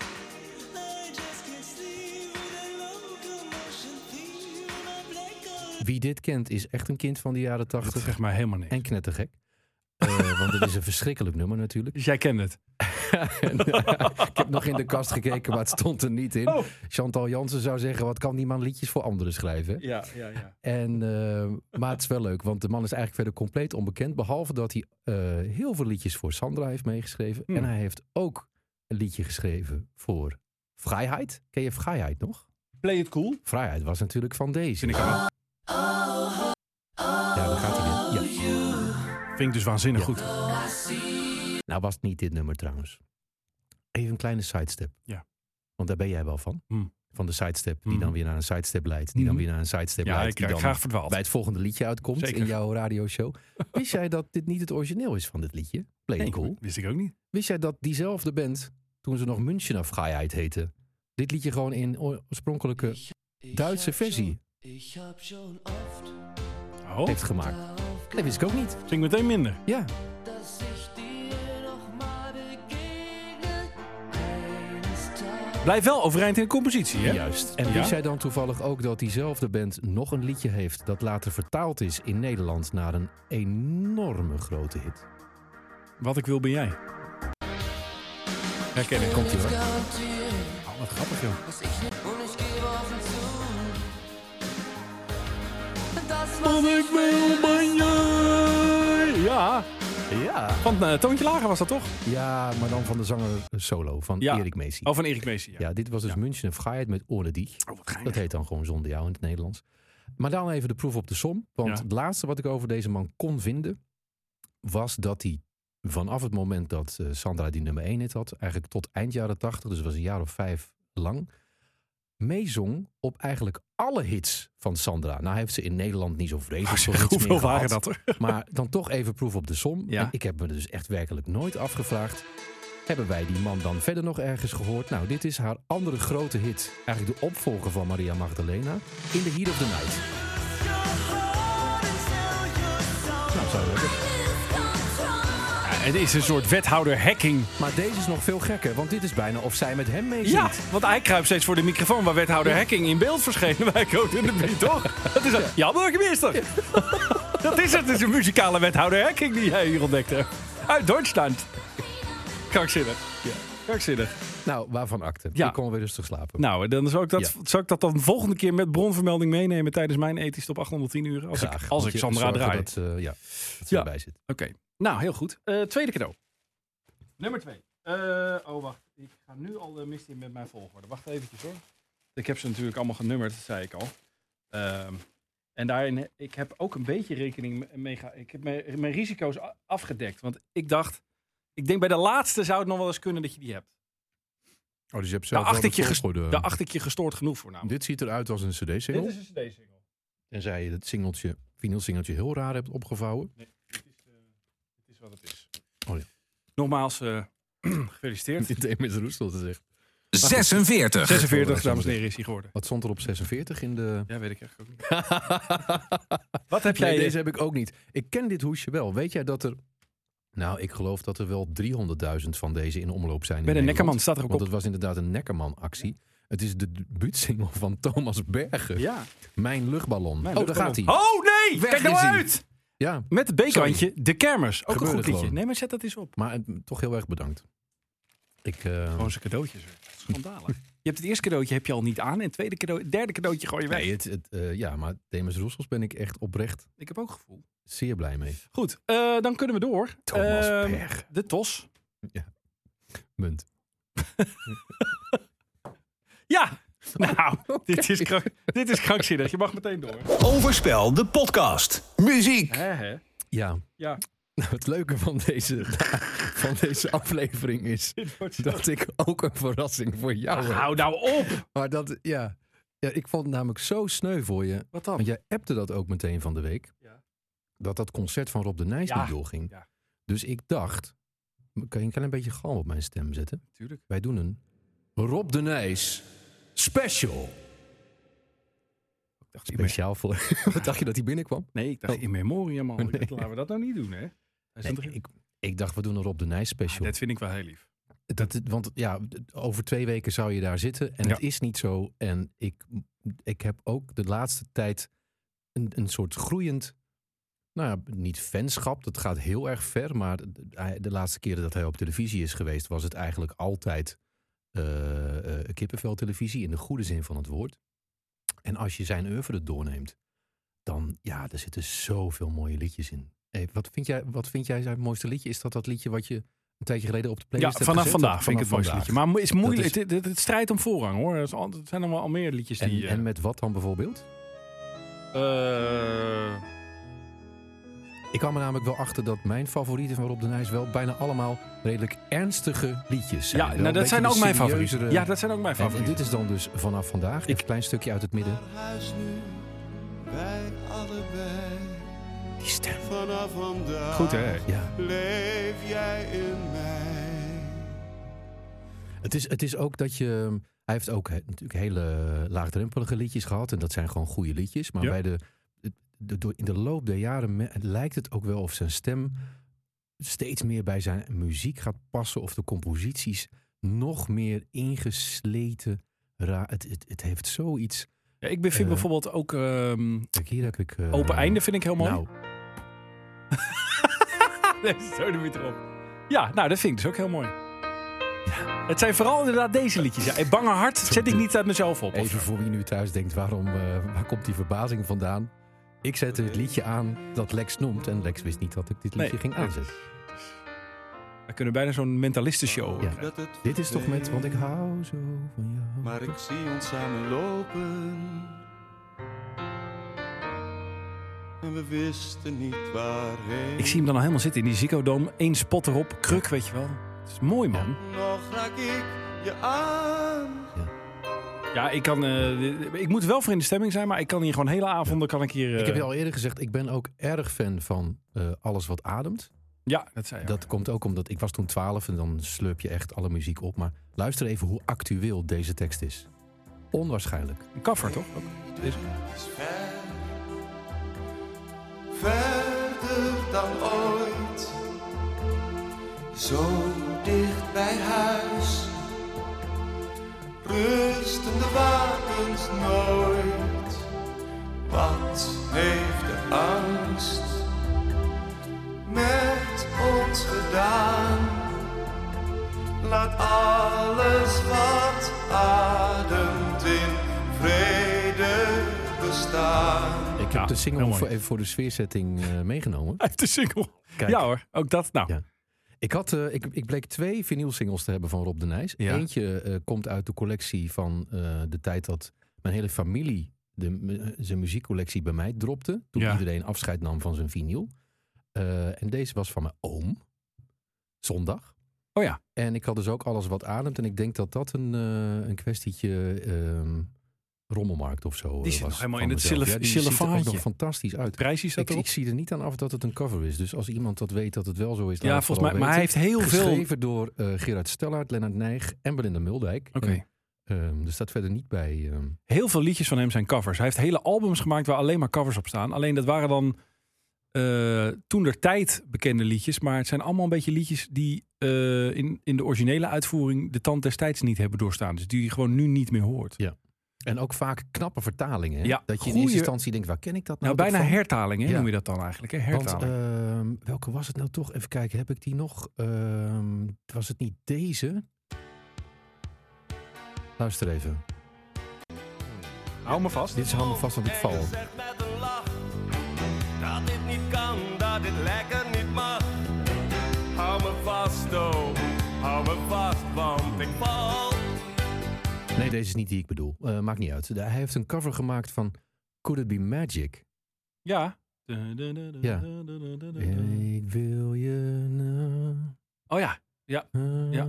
S5: I just can't sleep with a locomotion theme in my black eyes.
S4: wie dit kent is echt een kind van de jaren
S3: Dat
S4: 80
S3: zegt mij helemaal niks.
S4: en knettergek. Eh, want het is een verschrikkelijk nummer natuurlijk.
S3: Dus jij kent het.
S4: ik heb nog in de kast gekeken, maar het stond er niet in.
S3: Oh.
S4: Chantal Jansen zou zeggen, wat kan die man liedjes voor anderen schrijven?
S3: Ja, ja, ja.
S4: En, eh, maar het is wel leuk, want de man is eigenlijk verder compleet onbekend. Behalve dat hij eh, heel veel liedjes voor Sandra heeft meegeschreven.
S3: Hmm.
S4: En hij heeft ook een liedje geschreven voor Vrijheid. Ken je Vrijheid nog?
S3: Play it cool.
S4: Vrijheid was natuurlijk van deze.
S3: Vind ik, vind
S4: Ja, daar gaat hij weer. Ja.
S3: ik dus waanzinnig goed.
S4: Nou was het niet dit nummer trouwens. Even een kleine sidestep.
S3: Ja.
S4: Want daar ben jij wel van.
S3: Hmm.
S4: Van de sidestep die
S3: Mhm.
S4: dan weer naar een sidestep leidt. Die dan
S3: Mhm.
S4: weer naar een sidestep
S3: Ja,
S4: leidt.
S3: ik
S4: die
S3: krijg
S4: dan
S3: graag verdwaald.
S4: bij het volgende liedje uitkomt
S3: Zeker.
S4: in jouw radioshow. Wist jij dat dit niet het origineel is van dit liedje? Play
S3: Nee,
S4: It cool.
S3: Wist ik ook niet.
S4: Wist jij dat diezelfde band, toen ze nog München of Vrijheid heette, dit liedje gewoon in oorspronkelijke Duitse versie
S5: Ich hab schon oft
S3: Oh,
S4: heeft gemaakt? Dat wist ik ook niet.
S3: zing meteen minder.
S4: Ja,
S5: dass ich dir noch mal begegne. Eines Tages.
S3: Blijf wel overeind in de compositie, hè?
S4: juist. En
S3: Ja.
S4: wist jij dan toevallig ook dat diezelfde band nog een liedje heeft dat later vertaald is in Nederland naar een enorme grote hit?
S3: Wat ik wil ben jij. Herken ik.
S4: Komt ie hoor.
S3: Oh, wat grappig, joh.
S5: Und ich gebe offen zu, das war
S3: Wat ik wil ben jij. Ja,
S4: Ja.
S3: van eh, Toontje Lager was dat toch?
S4: Ja, maar dan van de zanger solo van
S3: Ja.
S4: Erik Messi.
S3: Oh, van Erik Meesie. Ja.
S4: Ja, dit was dus München en Vrijheid met Ohne dich.
S3: Oh, wat geinig.
S4: Dat heet dan gewoon zonder jou in het Nederlands. Maar dan even de proef op de som. Want
S3: Ja.
S4: het laatste wat ik over deze man kon vinden... was dat hij vanaf het moment dat eh, Sandra die nummer 1 hit had... eigenlijk tot eind jaren 80, dus het was een jaar of vijf lang... meezong op eigenlijk alle hits van Sandra. Nou heeft ze in Nederland niet zo vreselijk
S3: Zeg,
S4: veel hits
S3: Oh, hoeveel
S4: meer gehad.
S3: waren dat er?
S4: Maar dan toch even proef op de som.
S3: Ja.
S4: En ik heb me dus echt werkelijk nooit afgevraagd. Hebben wij die man dan verder nog ergens gehoord? Nou, dit is haar andere grote hit. Eigenlijk de opvolger van Maria Magdalena. In the Heat of the Night. Nou, zou je zeggen.
S3: Ja, het is een soort wethouder-hacking.
S4: Maar deze is nog veel gekker. Want dit is bijna of zij met hem meezingt.
S3: Ja, want hij kruipt steeds voor de microfoon waar wethouder Hacking in beeld verschenen bij Code in de Beat, toch? Dat is een, ja, burgemeester. Dat is het, het is een muzikale wethouder Hacking die jij hier ontdekt hebt. Uit Duitsland. Krankzinnig. Ja. Krankzinnig.
S4: Nou, waarvan akte.
S3: Ja.
S4: Ik kon weer rustig slapen.
S3: Nou, dan zou ik, dat,
S4: Ja.
S3: zou ik dat dan volgende keer met bronvermelding meenemen tijdens mijn ethisch op 810 uur. Als
S4: Graag.
S3: ik, als
S4: Want
S3: ik
S4: je-
S3: Sandra
S4: zorgen
S3: draai. Oké.
S4: Dat, eh, ja, dat ze
S3: Ja.
S4: erbij zit.
S3: Nou, heel goed. Eh, tweede cadeau. Nummer twee. Eh, oh, wacht. Ik ga nu al eh, mis in met mijn volgorde. Wacht eventjes hoor. Ik heb ze natuurlijk allemaal genummerd, dat zei ik al. Ehm, en daarin, ik heb ook een beetje rekening me- mee gehouden. Ik heb mijn, mijn risico's a- afgedekt. Want ik dacht, ik denk bij de laatste zou het nog wel eens kunnen dat je die hebt.
S4: Oh, dus je hebt
S3: Daar Nou, acht, ik je ges-
S4: volgorde.
S3: daar acht ik je gestoord genoeg voor namelijk.
S4: Dit ziet eruit als een
S3: Dit
S4: cd-single.
S3: is een cd-single.
S4: Tenzij je dat singeltje, vinylsingeltje heel raar hebt opgevouwen.
S3: Het is wat het is.
S4: Oh ja.
S3: Nogmaals, eh, gefeliciteerd.
S4: Dit deed me de roestel te zeggen.
S1: 46.
S3: 46, dames en heren, is hij geworden.
S4: Wat stond er op 46 in de...
S3: Ja, weet ik echt ook niet. Wat heb jij
S4: Nee, deze heb ik ook niet. Ik ken dit hoesje wel. Weet jij dat er... Nou, ik geloof dat er wel 300.000 van deze in omloop zijn
S3: Bij de
S4: in Nederland.
S3: Nekkerman staat er ook
S4: Want
S3: op.
S4: het was inderdaad een Nekkerman-actie. Het is de debuutsingle van Thomas Bergen.
S3: Ja.
S4: Mijn luchtballon.
S3: Mijn
S4: oh, daar gaat
S3: luchtballon. Oh
S4: hij.
S3: nee!
S4: Weg
S3: Kijk nou
S4: is hij.
S3: uit!
S4: Ja,
S3: Met het bekantje, de kermis. Ook
S4: Gebeurde
S3: een goed liedje.
S4: gewoon.
S3: Nee, maar zet dat eens op.
S4: maar eh, toch heel erg bedankt. Ik, eh,
S3: Gewoon zijn cadeautjes. hè. Schandalen. je hebt het eerste cadeautje heb je al niet aan. En het tweede cadeau, het derde cadeautje gooi je weg.
S4: nee, het, het, eh, ja, maar Demis Roesels ben ik echt oprecht
S3: Ik heb ook gevoel.
S4: zeer blij mee.
S3: Goed, eh, dan kunnen we door.
S4: Thomas
S3: Ehm,
S4: Berg.
S3: De TOS.
S4: Munt.
S3: Ja! Nou, dit, is krank, dit is krankzinnig. Je mag meteen door.
S1: Overspel, de podcast. Muziek.
S3: Hè, hè?
S4: Ja,
S3: Ja,
S4: Nou, het leuke van deze, van deze aflevering is
S3: dit wordt zo-
S4: dat ik ook een verrassing voor jou heb.
S3: Hou Ah, nou op!
S4: Maar dat, ja, Ja, ik vond het namelijk zo sneu voor je.
S3: Wat dan?
S4: Want jij appte dat ook meteen van de week.
S3: Ja.
S4: Dat dat concert van Rob de Nijs
S3: Ja,
S4: niet doorging.
S3: ja.
S4: Dus ik dacht, kan je een klein beetje galm op mijn stem zetten?
S3: Tuurlijk.
S4: Wij doen een Rob de Nijs special.
S3: Ik dacht, in
S4: Speciaal voor... Wat dacht je dat hij binnenkwam?
S3: me- nee, ik dacht in memoriam al. Ik dacht,
S4: Nee.
S3: Laten we dat nou niet doen, hè? Hij
S4: Nee,
S3: stond erin.
S4: ik, ik dacht, we doen een Rob de Nijs
S3: Ah,
S4: special.
S3: dat vind ik wel heel lief.
S4: Dat, want ja, over twee weken zou je daar zitten. En
S3: Ja.
S4: het is niet zo. En ik, ik heb ook de laatste tijd een, een soort groeiend. Nou ja, niet fanschap, dat gaat heel erg ver. Maar de, de laatste keren dat hij op televisie is geweest, was het eigenlijk altijd eh eh kippenveltelevisie. In de goede zin van het woord. En als je zijn oeuvre doorneemt, dan ja, er zitten zoveel mooie liedjes in. Hey, wat, vind jij, wat vind jij zijn mooiste liedje? Is dat dat liedje wat je een tijdje geleden op de
S3: Ja,
S4: playlist hebt
S3: vanaf
S4: gezet?
S3: vandaag vind ik het mooiste
S4: vandaag.
S3: liedje. Maar mo- is moeilijk.
S4: Dat is-
S3: Het, het, het strijdt om voorrang, hoor. Er is al- er zijn allemaal al meer liedjes
S4: En,
S3: die... eh,
S4: en met wat dan bijvoorbeeld?
S3: eh,
S4: Ik kwam er namelijk wel achter dat mijn favorieten van Rob de Nijs wel bijna allemaal redelijk ernstige liedjes zijn.
S3: ja, nou, dat zijn ook mijn favorieten. Ja, dat zijn ook mijn
S4: favorieten.
S3: favorieten.
S4: En dit is dan dus vanaf vandaag. Ik... Een klein stukje uit het midden.
S5: Naar huis nu, wij allebei.
S4: Die stem.
S5: Vanaf vandaag
S3: Goed, hè?
S4: Ja,
S5: leef jij in mij.
S4: het is, het is ook dat je... Hij heeft ook hè, natuurlijk hele laagdrempelige liedjes gehad. En dat zijn gewoon goede liedjes. Maar
S3: Ja.
S4: bij de, de- door- in de loop der jaren me- lijkt het ook wel of zijn stem steeds meer bij zijn muziek gaat passen. Of de composities nog meer ingesleten. Ra het, het, het heeft zoiets.
S3: Ja, ik ben- vind
S4: Eh.
S3: bijvoorbeeld ook... ehm,
S4: Kijk, hier heb ik... eh,
S3: open einde vind ik heel mooi.
S4: Nou,
S3: Nee, zo de erop. Ja, nou, dat vind ik dus ook heel mooi. Het zijn vooral inderdaad deze liedjes. Ja. En Bange Hart zet ik niet uit mezelf op.
S4: even voor wie nu thuis denkt, waarom, eh, waar komt die verbazing vandaan? Ik zette het liedje aan dat Lex noemt. En Lex wist niet dat ik dit liedje
S3: Nee.
S4: ging aanzetten.
S3: We kunnen bijna zo'n mentalistenshow.
S4: Ja.
S3: krijgen.
S5: Dat het
S4: Oh, Dit is toch met,
S5: verdwijnt.
S4: want ik hou zo van jou.
S5: Maar ik zie ons samen lopen. En we wisten niet waarheen.
S3: Ik zie hem dan al helemaal zitten in die Ziggo-dome. Eén spot erop, kruk, weet je wel. Het is mooi, man.
S5: Nog raak ik je aan.
S3: Ja, ik, kan, eh, ik moet wel voor in de stemming zijn, maar ik kan hier gewoon hele avonden kan ik hier... eh,
S4: Ik heb je al eerder gezegd, ik ben ook erg fan van eh, alles wat ademt.
S3: Ja, dat zei je.
S4: Dat komt ook omdat ik was toen 12 en dan slurp je echt alle muziek op. Maar luister even hoe actueel deze tekst is. Onwaarschijnlijk.
S3: Een cover, toch? Ook.
S5: is ver. Verder dan ooit. Zo dicht bij huis. Rusten de wapens nooit. Wat heeft de angst met ons gedaan? Laat alles wat ademt in vrede bestaan.
S4: Ik heb
S3: Ja,
S4: de single
S3: heel mooi.
S4: voor, even voor de sfeerzetting eh, meegenomen.
S3: Uit de single.
S4: Kijk.
S3: Ja hoor, ook dat. Nou,
S4: Ja. Ik, had, eh, ik, ik bleek twee vinylsingles te hebben van Rob de Nijs.
S3: Ja.
S4: Eentje eh, komt uit de collectie van eh, de tijd dat mijn hele familie de, mu- zijn muziekcollectie bij mij dropte. Toen
S3: Ja.
S4: iedereen afscheid nam van zijn vinyl. Eh, en deze was van mijn oom. Zondag.
S3: Oh ja.
S4: En ik had dus ook alles wat ademt. En ik denk dat dat een, eh, een kwestietje ehm, rommelmarkt of zo eh,
S3: Die zit
S4: was.
S3: nog helemaal
S4: van
S3: in het
S4: mezelf.
S3: silif-
S4: Ja, die ziet er ook nog
S3: silifaantje.
S4: fantastisch uit.
S3: prijs is dat
S4: Ik,
S3: erop.
S4: ik zie er niet aan af dat het een cover is. Dus als iemand dat weet dat het wel zo is, laat
S3: Ja,
S4: het
S3: volgens mij.
S4: vooral
S3: Maar hij
S4: weten.
S3: heeft heel veel...
S4: Geschreven door eh, Gerard Stellaert, Lennart Nijg en Belinda Muldijk.
S3: Oké.
S4: En, ehm, er staat verder niet bij. ehm,
S3: Heel veel liedjes van hem zijn covers. Hij heeft hele albums gemaakt waar alleen maar covers op staan. Alleen dat waren dan eh, toen der tijd bekende liedjes. Maar het zijn allemaal een beetje liedjes die eh, in, in de originele uitvoering de tand destijds niet hebben doorstaan. Dus die je gewoon nu niet meer hoort.
S4: Nou, en ook vaak knappe vertalingen. hè?
S3: Ja,
S4: dat je in
S3: goeie-
S4: eerste instantie denkt, waar ken ik dat nou?
S3: Nou, bijna
S4: toch van?
S3: hertaling hè,
S4: Ja.
S3: noem je dat dan eigenlijk. Hè?
S4: Want,
S3: Hertaling.
S4: ehm, welke was het nou toch? Even kijken, heb ik die nog? Ehm, was het niet deze? Luister even.
S3: Hou me vast.
S4: Dit is handen vast, want ik val.
S5: En je zegt met een lach dat dit niet kan, dat dit lekker niet mag. Hou me vast, oh, hou me vast, want ik val.
S4: Nee, deze is niet die ik bedoel. Eh, maakt niet uit. Hij heeft een cover gemaakt van Could It Be Magic?
S3: Ja.
S4: Ja. Ik wil je nou- na-
S3: Oh ja.
S4: Ah,
S3: Ja.
S4: Eh,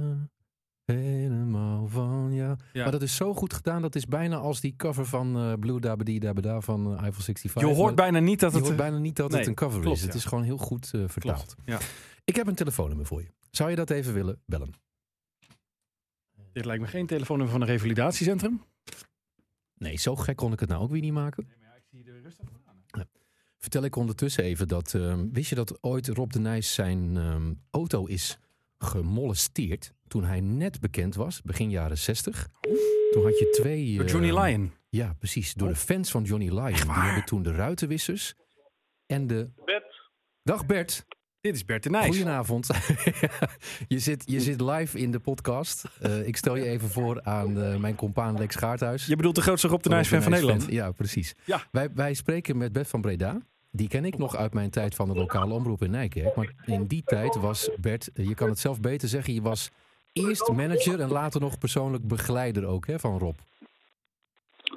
S4: Helemaal hou van jou.
S3: Ja.
S4: Maar dat is zo goed gedaan. Dat is bijna als die cover van eh Blue Dabadi Dabada van eh, Eiffel 65.
S3: Je hoort
S4: Maar
S3: bijna niet dat
S4: je
S3: het...
S4: hoort bijna niet dat het
S3: Nee,
S4: een cover
S3: klopt,
S4: is. Het
S3: ja.
S4: is gewoon heel goed eh, vertaald.
S3: Ja.
S4: Ik heb een telefoonnummer voor je. Zou je dat even willen bellen?
S3: Dit lijkt me geen telefoonnummer van een revalidatiecentrum.
S4: Nee, zo gek kon ik het nou ook weer niet maken. Vertel ik ondertussen even dat. ehm, wist je dat ooit Rob de Nijs zijn ehm, auto is gemolesteerd? Toen hij net bekend was, begin jaren 60. Toen had je twee.
S3: Door
S4: eh,
S3: Johnny Oh. Lyon.
S4: Ja, precies. Door de fans van Johnny Lyon. Die hebben toen de ruitenwissers en de.
S6: Bert,
S4: Dag Bert,
S3: Dit is Bert de Nijs.
S4: goedenavond. je, zit, je zit live in de podcast. Eh, ik stel je even voor aan eh, mijn compaan Lex Gaarthuis.
S3: Je bedoelt de grootste Rob de Nijs fan van Nederland.
S4: Ja, precies.
S3: Ja.
S4: Wij, wij spreken met Bert van Breda. Die ken ik nog uit mijn tijd van de lokale omroep in Nijkerk. Maar in die tijd was Bert, eh, je kan het zelf beter zeggen, je was eerst manager en later nog persoonlijk begeleider ook hè, van Rob.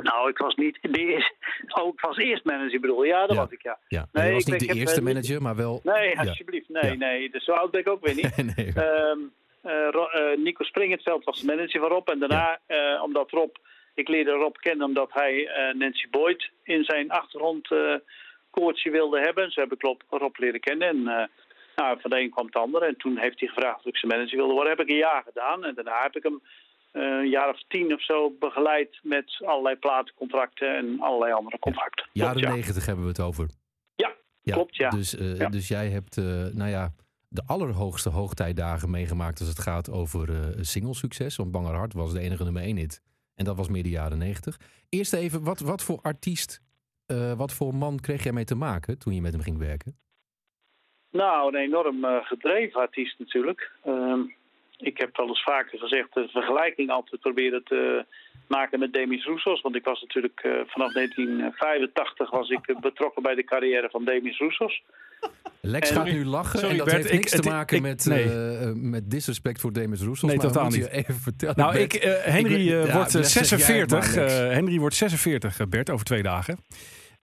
S6: nou, ik was niet. De, eerste- oh, ik was eerst manager, bedoel je? Ja, dat
S4: Ja.
S6: was ik, ja.
S4: Ja.
S6: Nee,
S4: hij was
S6: ik-
S4: niet
S6: ik
S4: de
S6: heb,
S4: eerste
S6: eh,
S4: manager, maar wel.
S6: Nee,
S4: ja.
S6: alsjeblieft. Nee,
S4: Ja.
S6: nee. Dus zo oud ben ik ook weer niet.
S4: nee.
S6: Ehm, eh, Ro- eh, Nico Springenveld was de manager van Rob. En daarna, eh, omdat Rob... Ik leerde Rob kennen omdat hij eh, Nancy Boyd in zijn achtergrondkoortje koortje wilde hebben. Zo heb ik Rob, Rob leren kennen. En eh, nou, van de een kwam het ander. En toen heeft hij gevraagd of ik zijn manager wilde worden. Heb ik een jaar gedaan. En daarna heb ik hem eh, een jaar of tien of zo begeleid met allerlei platencontracten en allerlei andere contracten.
S4: Jaren
S6: Klopt, ja.
S4: negentig hebben we het over.
S6: Ja, klopt, ja.
S4: Dus, eh,
S6: Ja.
S4: dus jij hebt, eh, nou ja, de allerhoogste hoogtijdagen meegemaakt als het gaat over eh singlesucces. Want Banger Hart was de enige nummer één hit. En dat was meer de jaren negentig. Eerst even, wat, wat voor artiest, eh, wat voor man kreeg jij mee te maken toen je met hem ging werken?
S6: Nou, een enorm eh, gedreven artiest natuurlijk. Ehm, ik heb wel eens vaker gezegd de vergelijking altijd proberen te maken met Demis Roussos. Want ik was natuurlijk eh, vanaf 1985 was ik eh, betrokken bij de carrière van Demis Roussos.
S4: Lex
S6: En-
S4: gaat nu lachen
S3: sorry,
S4: en dat
S3: Bert,
S4: heeft
S3: ik-
S4: niks
S3: het-
S4: te maken
S3: ik-
S4: met,
S3: nee.
S4: eh, eh, met disrespect voor Demis Roussos.
S3: Nee,
S4: maar we
S3: totaal
S4: moeten
S3: niet.
S4: je even vertellen.
S3: Nou,
S4: Bert.
S3: ik, eh, Henry
S4: Ik weet-
S3: eh,
S4: ja,
S3: wordt eh,
S4: Lex, zeg jij het
S3: 46.
S4: maar, Lex.
S3: eh, Henry wordt 46, eh, Bert, over twee dagen.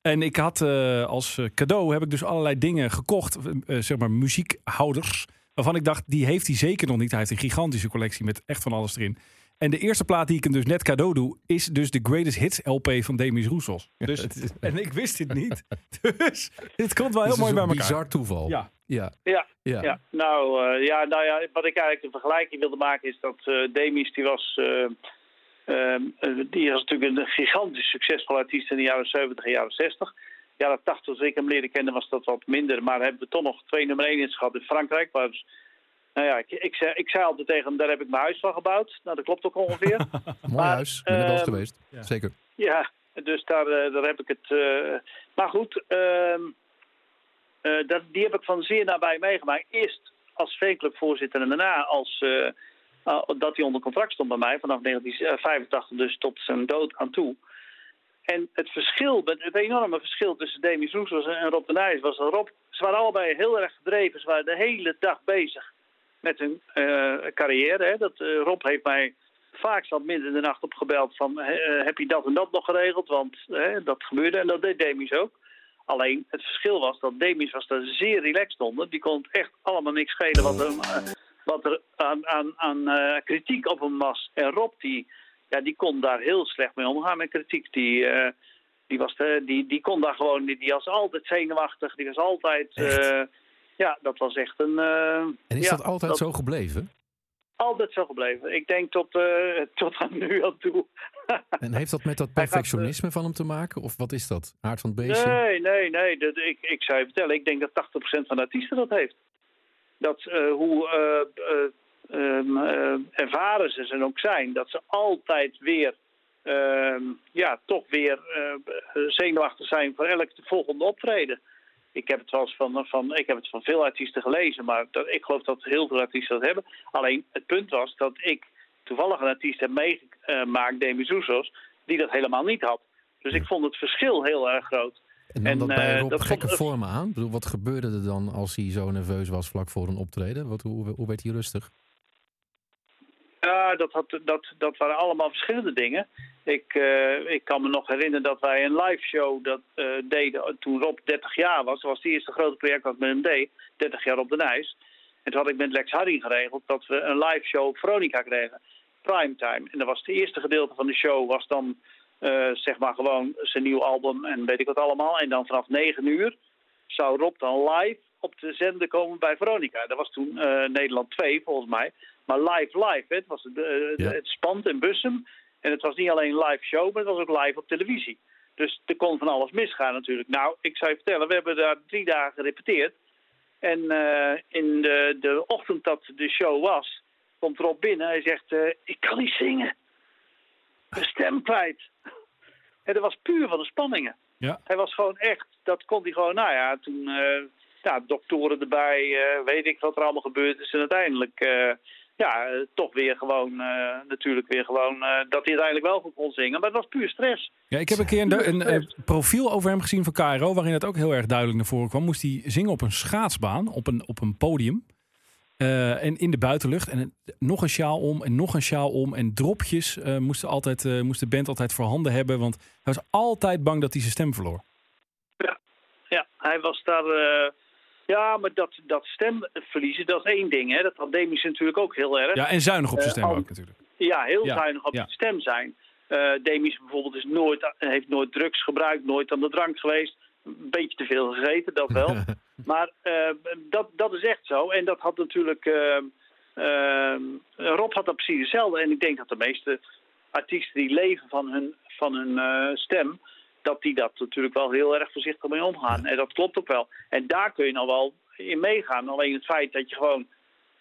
S3: En ik had eh, als eh, cadeau heb ik dus allerlei dingen gekocht, eh, zeg maar muziekhouders, waarvan ik dacht die heeft hij zeker nog niet. Hij heeft een gigantische collectie met echt van alles erin. En de eerste plaat die ik hem dus net cadeau doe, is dus de Greatest Hits LP van Demis Roussos. Dus, en ik wist dit niet. Dus dit komt wel heel
S4: Het is
S3: mooi bij
S4: een
S3: elkaar.
S4: bizar toeval.
S3: Ja.
S4: Ja.
S6: Ja,
S4: Ja.
S6: Ja, nou, eh, ja, nou ja, wat ik eigenlijk een vergelijking wilde maken is dat eh, Demis, die was, eh, ehm, eh, die was natuurlijk een gigantisch succesvol artiest in de jaren 70 en jaren 60. Jaren 80, toen ik hem leerde kennen, was dat wat minder. Maar hebben we toch nog twee nummer 1 in gehad in Frankrijk. Waar, nou ja, ik, ik, zei, ik zei altijd tegen hem, daar heb ik mijn huis van gebouwd. Nou, dat klopt ook ongeveer.
S4: Mooi
S6: Maar,
S4: huis, ben er wel eens
S6: ehm,
S4: geweest. Zeker.
S6: Ja, dus daar, eh, daar heb ik het. eh, maar goed, ehm, eh, dat, die heb ik van zeer nabij meegemaakt. Eerst als V-clubvoorzitter en daarna als. eh, ah, dat hij onder contract stond bij mij vanaf 1985, dus tot zijn dood aan toe. En het verschil, het het enorme verschil tussen Demi Roussos en Rob de Nijs was dat Rob, ze waren allebei heel erg gedreven. Ze waren de hele dag bezig met hun eh, carrière. Hè. Dat, eh, Rob heeft mij vaak zat midden in de nacht opgebeld van eh, heb je dat en dat nog geregeld? Want hè, dat gebeurde en dat deed Demis ook. Alleen het verschil was dat Demis was daar zeer relaxed onder. Die kon echt allemaal niks schelen wat er, eh, wat er aan, aan, aan eh, kritiek op hem was. En Rob die, ja, die kon daar heel slecht mee omgaan met kritiek. Die, eh, die, was de, die, die kon daar gewoon, die, die was altijd zenuwachtig, die was altijd... eh, ja, dat was echt een... eh,
S4: En is
S6: ja,
S4: dat altijd zo gebleven?
S6: altijd zo gebleven. Ik denk tot, eh, tot aan nu aan toe.
S4: En heeft dat met dat
S6: Hij gaat, eh,
S4: perfectionisme van hem te maken? Of wat is dat? Aard van het beestje?
S6: nee, nee, nee. Dat, ik, ik zou je vertellen, ik denk dat 80% van de artiesten dat heeft. Dat eh, hoe eh, eh, ehm, eh, ervaren ze ze ook zijn, dat ze altijd weer, ehm, ja, toch weer eh, zenuwachtig zijn voor elk volgende optreden. Ik heb het wel eens van, van, ik heb het van veel artiesten gelezen, maar dat, ik geloof dat heel veel artiesten dat hebben. Alleen het punt was dat ik toevallig een artiest heb meegemaakt, Demi Soussos, die dat helemaal niet had. Dus ik vond het verschil heel erg groot.
S4: en dan
S6: en,
S4: dat bij
S6: eh,
S4: Rob
S6: dat
S4: gekke
S6: vond-
S4: vormen aan? Ik bedoel, wat gebeurde er dan als hij zo nerveus was vlak voor een optreden? Wat, hoe, hoe werd hij rustig?
S6: Ja, dat, had, dat, dat waren allemaal verschillende dingen. Ik, eh, ik kan me nog herinneren dat wij een live show dat, eh, deden toen Rob 30 jaar was. Dat was het eerste grote project dat ik met hem deed, 30 jaar op de Nijs. En toen had ik met Lex Harding geregeld dat we een live show op Veronica kregen. primetime. En dat was het eerste gedeelte van de show was dan eh, zeg maar gewoon zijn nieuw album en weet ik wat allemaal. En dan vanaf 9 uur zou Rob dan live op de zender komen bij Veronica. Dat was toen eh, Nederland 2 volgens mij. Maar live live, hè. het was het, eh,
S4: Ja.
S6: het spand in Bussum. En het was niet alleen live show, maar het was ook live op televisie. Dus er kon van alles misgaan natuurlijk. Nou, ik zou je vertellen, we hebben daar drie dagen gerepeteerd. En eh, in de, de ochtend dat de show was, komt Rob binnen. Hij zegt, eh, ik kan niet zingen. Mijn stem kwijt. En dat was puur van de spanningen.
S3: Ja.
S6: Hij was gewoon echt, dat kon hij gewoon, nou ja, toen, eh, ja, doktoren erbij, eh, weet ik wat er allemaal gebeurd is. En uiteindelijk, eh, ja, eh, toch weer gewoon, eh, natuurlijk weer gewoon, eh, dat hij uiteindelijk wel goed kon zingen. Maar het was puur stress.
S3: Ja, ik heb een keer een, een, eh, profiel over hem gezien van KRO, waarin het ook heel erg duidelijk naar voren kwam. Moest hij zingen op een schaatsbaan, op een, op een podium. Eh, en in de buitenlucht. En een- nog een sjaal om en nog een sjaal om. En dropjes eh moest, altijd, eh, moest de band altijd voorhanden hebben. Want hij was altijd bang dat hij zijn stem verloor.
S6: Ja, hij was daar. eh, ja, maar dat, dat stemverliezen, dat is één ding. Hè? Dat had Demis natuurlijk ook heel erg. Ja,
S3: Ja, en zuinig op zijn
S6: Eh,
S3: stem
S6: al-
S3: ook natuurlijk.
S6: heel
S3: Ja,
S6: zuinig op
S3: ja.
S6: de stem zijn. Eh Demis bijvoorbeeld is nooit, heeft nooit drugs gebruikt, nooit aan de drank geweest. Een beetje te veel gegeten, dat wel. maar eh, dat, dat is echt zo. En dat had natuurlijk. eh, eh, Rob had dat precies hetzelfde. En ik denk dat de meeste artiesten die leven van hun, van hun eh, stem, dat die dat natuurlijk wel heel erg voorzichtig mee omgaan. En dat klopt ook wel. En daar kun je nou wel in meegaan. Alleen het feit dat je gewoon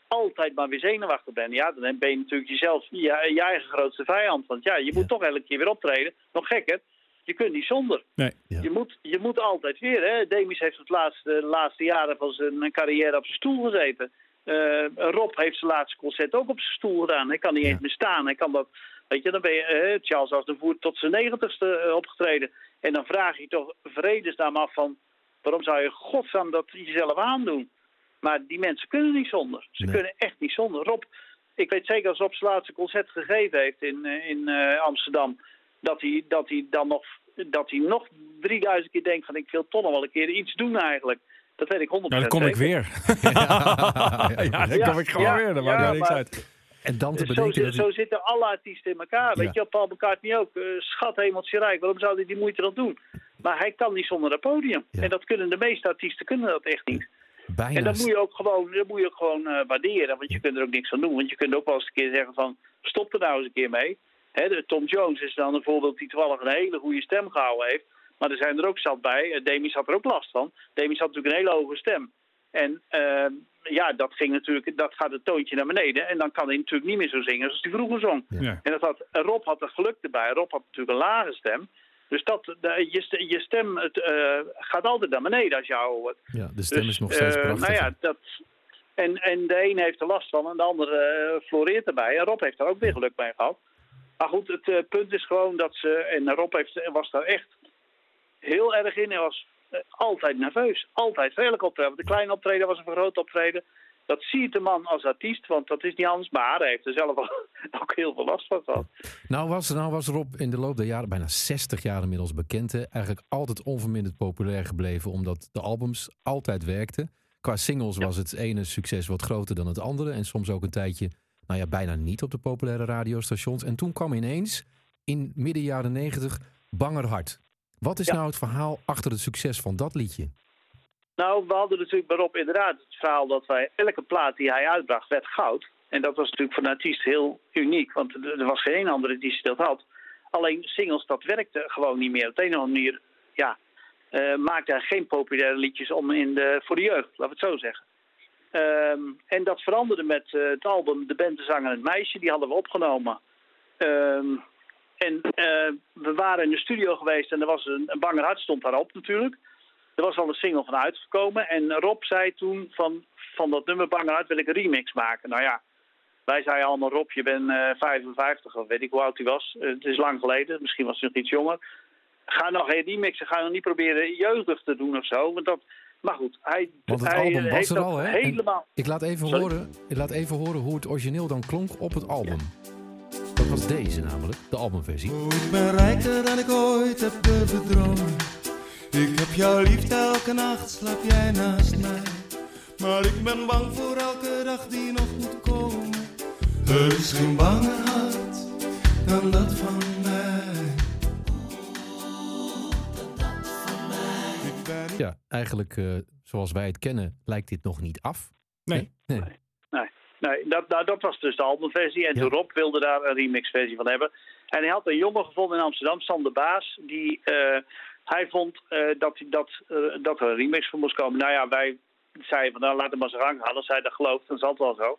S6: altijd maar weer zenuwachtig bent. Ja, dan ben je natuurlijk jezelf, je, je eigen grootste vijand. Want ja, je moet toch elke keer weer optreden. Nog gekker, je kunt niet zonder.
S3: Nee.
S4: Ja.
S6: Je, moet, je moet altijd weer. Hè? Demis heeft het laatste, de laatste jaren van zijn carrière op zijn stoel gezeten. Eh, Rob heeft zijn laatste concert ook op zijn stoel gedaan. Hij kan niet eens meer staan. Hij kan dat, weet je, dan ben je eh, Charles Aznavour tot zijn negentigste eh, opgetreden. En dan vraag je toch vredesnaam af van... waarom zou je godsnaam dat jezelf aandoen? Maar die mensen kunnen niet zonder. Ze
S4: Nee.
S6: kunnen echt niet zonder. Rob, ik weet zeker als Rob zijn laatste concert gegeven heeft in, eh, in eh, Amsterdam... Dat hij, dat hij dan nog, dat hij nog 3000 keer denkt van ik wil toch nog wel een keer iets doen eigenlijk. Dat weet ik 100%
S3: Nou, dan kom ik
S6: zeker.
S3: weer. ja, dan kom ik gewoon
S6: ja,
S3: weer. Dan maakt
S6: ja,
S3: er niks
S6: maar-
S3: uit.
S4: En dan te
S6: Dus Zo,
S4: bedenken dat
S6: zit- zo
S4: hij...
S6: zitten alle artiesten in elkaar.
S4: Ja.
S6: Weet je, Paul McCartney ook. Eh, schat hemeltje rijk, waarom zou hij die moeite dan doen? Maar hij kan niet zonder dat podium.
S4: Ja.
S6: En dat kunnen de meeste artiesten kunnen dat echt niet.
S4: bijna...
S6: En dat moet je ook gewoon, dat moet je ook gewoon eh, waarderen, want je kunt er ook niks aan doen. Want je kunt ook wel eens een keer zeggen van, stop er nou eens een keer mee. Hè, de- Tom Jones is dan een voorbeeld die toevallig een hele goede stem gehouden heeft. Maar er zijn er ook zat bij. Eh, Demis had er ook last van. Demis had natuurlijk een hele hoge stem. En ehm, ja, dat, ging natuurlijk, dat gaat het toontje naar beneden. En dan kan hij natuurlijk niet meer zo zingen zoals hij vroeger zong.
S3: Ja.
S6: En dat had, en Rob had er geluk erbij. Rob had natuurlijk een lage stem. Dus dat, de- je, st- je stem het, eh, gaat altijd naar beneden als je ouder wordt.
S4: Ja, de stem
S6: Dus,
S4: is nog steeds
S6: eh,
S4: prachtig.
S6: Nou ja, dat, en, en de een heeft er last van en de ander eh, floreert erbij. En Rob heeft daar ook weer geluk bij gehad. Maar goed, het eh, punt is gewoon dat ze... En Rob heeft, was daar echt heel erg in. Hij was eh, altijd nerveus. Altijd redelijk optreden. Want de kleine optreden was een groot optreden. Dat ziet de man als artiest, want dat is niet anders. Maar hij heeft er zelf ook, ook heel veel last van gehad.
S4: Nou was, nou was Rob in de loop der jaren, bijna 60 jaar inmiddels bekend, hè, eigenlijk altijd onverminderd populair gebleven, omdat de albums altijd werkten. Qua singles was het ene succes wat groter dan het andere en soms ook een tijdje, nou ja, bijna niet op de populaire radiostations. En toen kwam ineens, in midden jaren 90, Banger Hart. Wat is
S6: Ja.
S4: nou het verhaal achter het succes van dat liedje?
S6: Nou, we hadden natuurlijk bij Rob inderdaad het verhaal dat wij elke plaat die hij uitbracht werd goud. En dat was natuurlijk voor een artiest heel uniek, want er er was geen één andere die dat had. Alleen singles, dat werkte gewoon niet meer. Op de een of andere manier ja, eh, maakte hij geen populaire liedjes om in de, voor de jeugd, laten we het zo zeggen. Ehm, en dat veranderde met eh, het album De Band, de Zanger en het Meisje. Die hadden we opgenomen. Ehm, en eh, we waren in de studio geweest en er was een, een banger hart stond daarop natuurlijk. Er was al een single van uitgekomen. En Rob zei toen van, van dat nummer Banger Hart wil ik een remix maken. Nou ja, wij zeiden allemaal Rob, je bent eh, 55 of weet ik hoe oud hij was. Eh, het is lang geleden, misschien was hij nog iets jonger. Ga nog geen remixen, ga nog niet proberen jeugdig te doen of zo. Want dat, maar goed, hij,
S4: Want het
S6: hij
S4: album
S6: eh,
S4: was
S6: heeft
S4: er
S6: dat
S4: al, hè? En-
S6: helemaal...
S4: Ik laat even,
S6: Sorry?
S4: horen, ik laat even horen hoe het origineel dan klonk op het album. Dat was deze namelijk, de albumversie.
S5: Oh, ik ben rijker dan ik ooit heb durven dromen. Ik heb jouw liefde, elke nacht slaap jij naast mij. Maar ik ben bang voor elke dag die nog moet komen. Er is geen bange hart dan dat van mij. Ik ben niet
S4: Ja, eigenlijk eh, zoals wij het kennen lijkt dit nog niet af.
S3: Nee.
S4: Nee.
S6: Nee, dat, nou, dat was dus de albumversie. En
S4: Ja.
S6: toen Rob wilde daar een remixversie van hebben. En hij had een jongen gevonden in Amsterdam, Sam de Baas. Die, eh, hij vond eh, dat, dat, eh, dat er een remix voor moest komen. Nou ja, wij zeiden van nou, laat hem maar zijn gang halen. Als hij dat gelooft, dan zal het wel zo.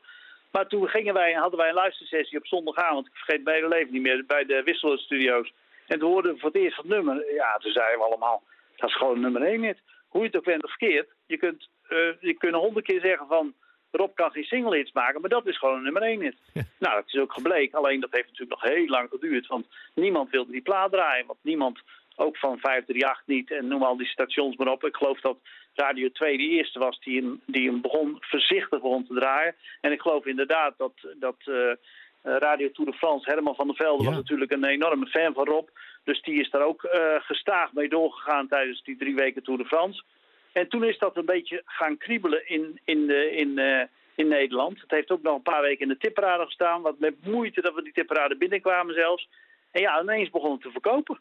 S6: Maar toen gingen wij, hadden wij een luistersessie op zondagavond. Ik vergeet mijn hele leven niet meer, bij de Wisseler Studios. En toen hoorden we voor het eerst het nummer. Ja, toen zeiden we allemaal, dat is gewoon nummer één dit. Hoe je het ook bent of verkeerd. Je kunt, eh, je kunt honderd keer zeggen van, Rob kan geen single hits maken, maar dat is gewoon een nummer één hit. Nou, dat is ook gebleken. Alleen dat heeft natuurlijk nog heel lang geduurd. Want niemand wilde die plaat draaien. Want niemand, ook van 538 niet. En noem al die stations maar op. Ik geloof dat Radio 2 de eerste was die hem, die hem begon, voorzichtig begon te draaien. En ik geloof inderdaad dat, dat eh, eh, Radio Tour de France, Herman van der Velde,
S4: Ja.
S6: was natuurlijk een enorme fan van Rob. Dus die is daar ook eh, gestaag mee doorgegaan tijdens die drie weken Tour de France. En toen is dat een beetje gaan kriebelen in, in, de, in, eh, in Nederland. Het heeft ook nog een paar weken in de tipparade gestaan. Wat met moeite dat we die tipparade binnenkwamen zelfs. En ja, ineens begon het te verkopen.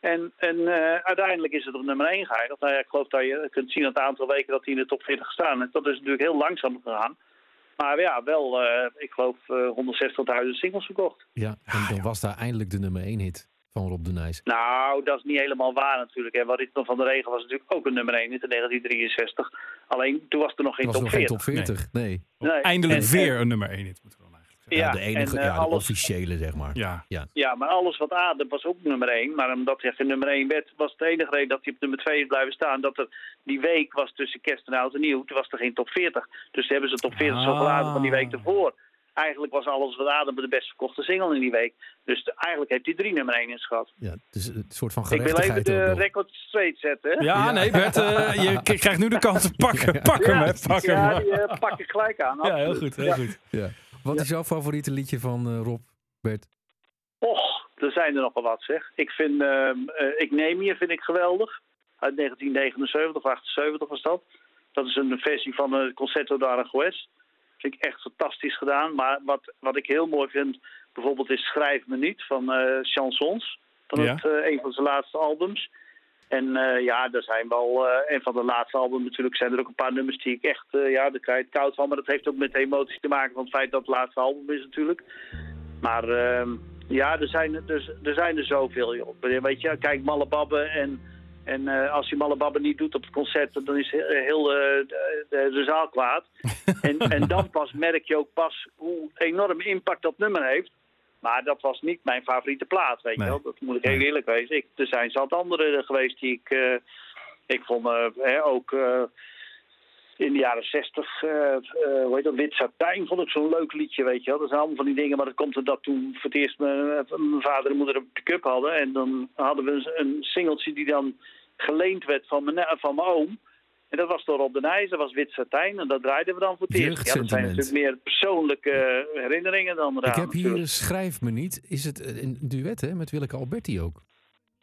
S6: En, en eh, uiteindelijk is het op nummer 1 geëindigd. Nou ja, ik geloof dat je kunt zien aan het aantal weken dat hij in de top 40 staan. En dat is natuurlijk heel langzaam gegaan. Maar ja, wel, eh, ik geloof, eh 160.000 singles verkocht.
S4: Ja, en dan was daar eindelijk de nummer 1 hit van Rob de Nijs.
S6: Nou, dat is niet helemaal waar natuurlijk. Hè. Want Ritme van de Regen was natuurlijk ook een nummer 1 in 1963. Alleen toen was er nog geen
S4: Het was
S6: top
S4: nog geen
S6: 40.
S4: top 40. Nee.
S6: Nee,
S3: Eindelijk
S6: en-
S3: weer een nummer 1 hit, moeten we dan eigenlijk
S6: Ja,
S3: zeggen.
S4: Ja, de enige,
S6: en, eh,
S4: ja, de
S6: alles-
S4: officiële, zeg maar.
S3: Ja.
S6: Ja, maar alles wat adem was ook nummer 1. Maar omdat hij geen nummer 1 werd, was de enige reden dat hij op nummer 2 is blijven staan. Dat er die week was tussen kerst en oud en nieuw, toen was er geen top 40. Dus hebben ze top 40 zo
S3: Ah.
S6: geladen van die week ervoor. Eigenlijk was alles wat adem de best verkochte single in die week. Dus de- eigenlijk heeft hij drie nummer 1 in gehad.
S4: Ja, dus een soort van
S6: Ik eh, wil even
S4: gerechtigheid. ook
S6: de
S4: nog.
S6: record straight zetten. hè?
S3: Ja, nee, Bert, eh, je k- krijgt nu de kans. Pak hem, pak hem, hè, pak hem.
S6: Ja, die eh, pak ik gelijk aan.
S3: Ja, heel
S6: absoluut.
S3: goed, heel
S6: Ja.
S3: goed.
S4: Ja. Wat is jouw favoriete liedje van eh, Rob, Bert?
S6: Och, er zijn er nogal wat zeg. Ik vind, ehm, eh, ik neem je vind ik geweldig. Uit 1979 of 78 was dat. Dat is een versie van het Concerto d'Aranjuez. Vind ik echt fantastisch gedaan. Maar wat, wat ik heel mooi vind, bijvoorbeeld is Schrijf me niet van eh, Chansons. Van
S3: Ja.
S6: het, eh, een van zijn laatste albums. En eh, ja, er zijn wel, eh, een van de laatste albums natuurlijk, zijn er ook een paar nummers die ik echt, eh, ja, daar krijg je het koud van. Maar dat heeft ook met emoties te maken, van het feit dat het laatste album is natuurlijk. Maar ehm, ja, er zijn er, dus, er- er zijn er zoveel, joh. Weet je, kijk, Mallebabben en, en eh, als je Mallebabben niet doet op het concert, dan is he- heel eh, de, de- de zaal kwaad. en, en dan pas merk je ook pas hoe enorm impact dat nummer heeft. Maar dat was niet mijn favoriete plaat, weet
S4: Nee.
S6: je wel. Dat moet ik heel eerlijk wezen. Ik, er zijn zat andere geweest die ik... eh, ik vond eh, hè, ook... eh, in de jaren zestig, eh, hoe heet dat, Wit Satijn vond ik zo'n leuk liedje, weet je wel. Dat zijn allemaal van die dingen, maar dat komt omdat toen voor het eerst mijn, eh, mijn vader en moeder een pick-up hadden. En dan hadden we een, een singeltje die dan geleend werd van mijn, eh, van mijn oom. En dat was door Rob de Nijs, dat was Wit Satijn en dat draaiden we dan voor het eerst. Ja, dat zijn
S4: Jeugdsentiment.
S6: natuurlijk meer persoonlijke herinneringen dan eraan
S4: Ik heb hier,
S6: natuurlijk.
S4: eh, schrijf me niet, is het eh, een duet hè, met Willeke Alberti ook?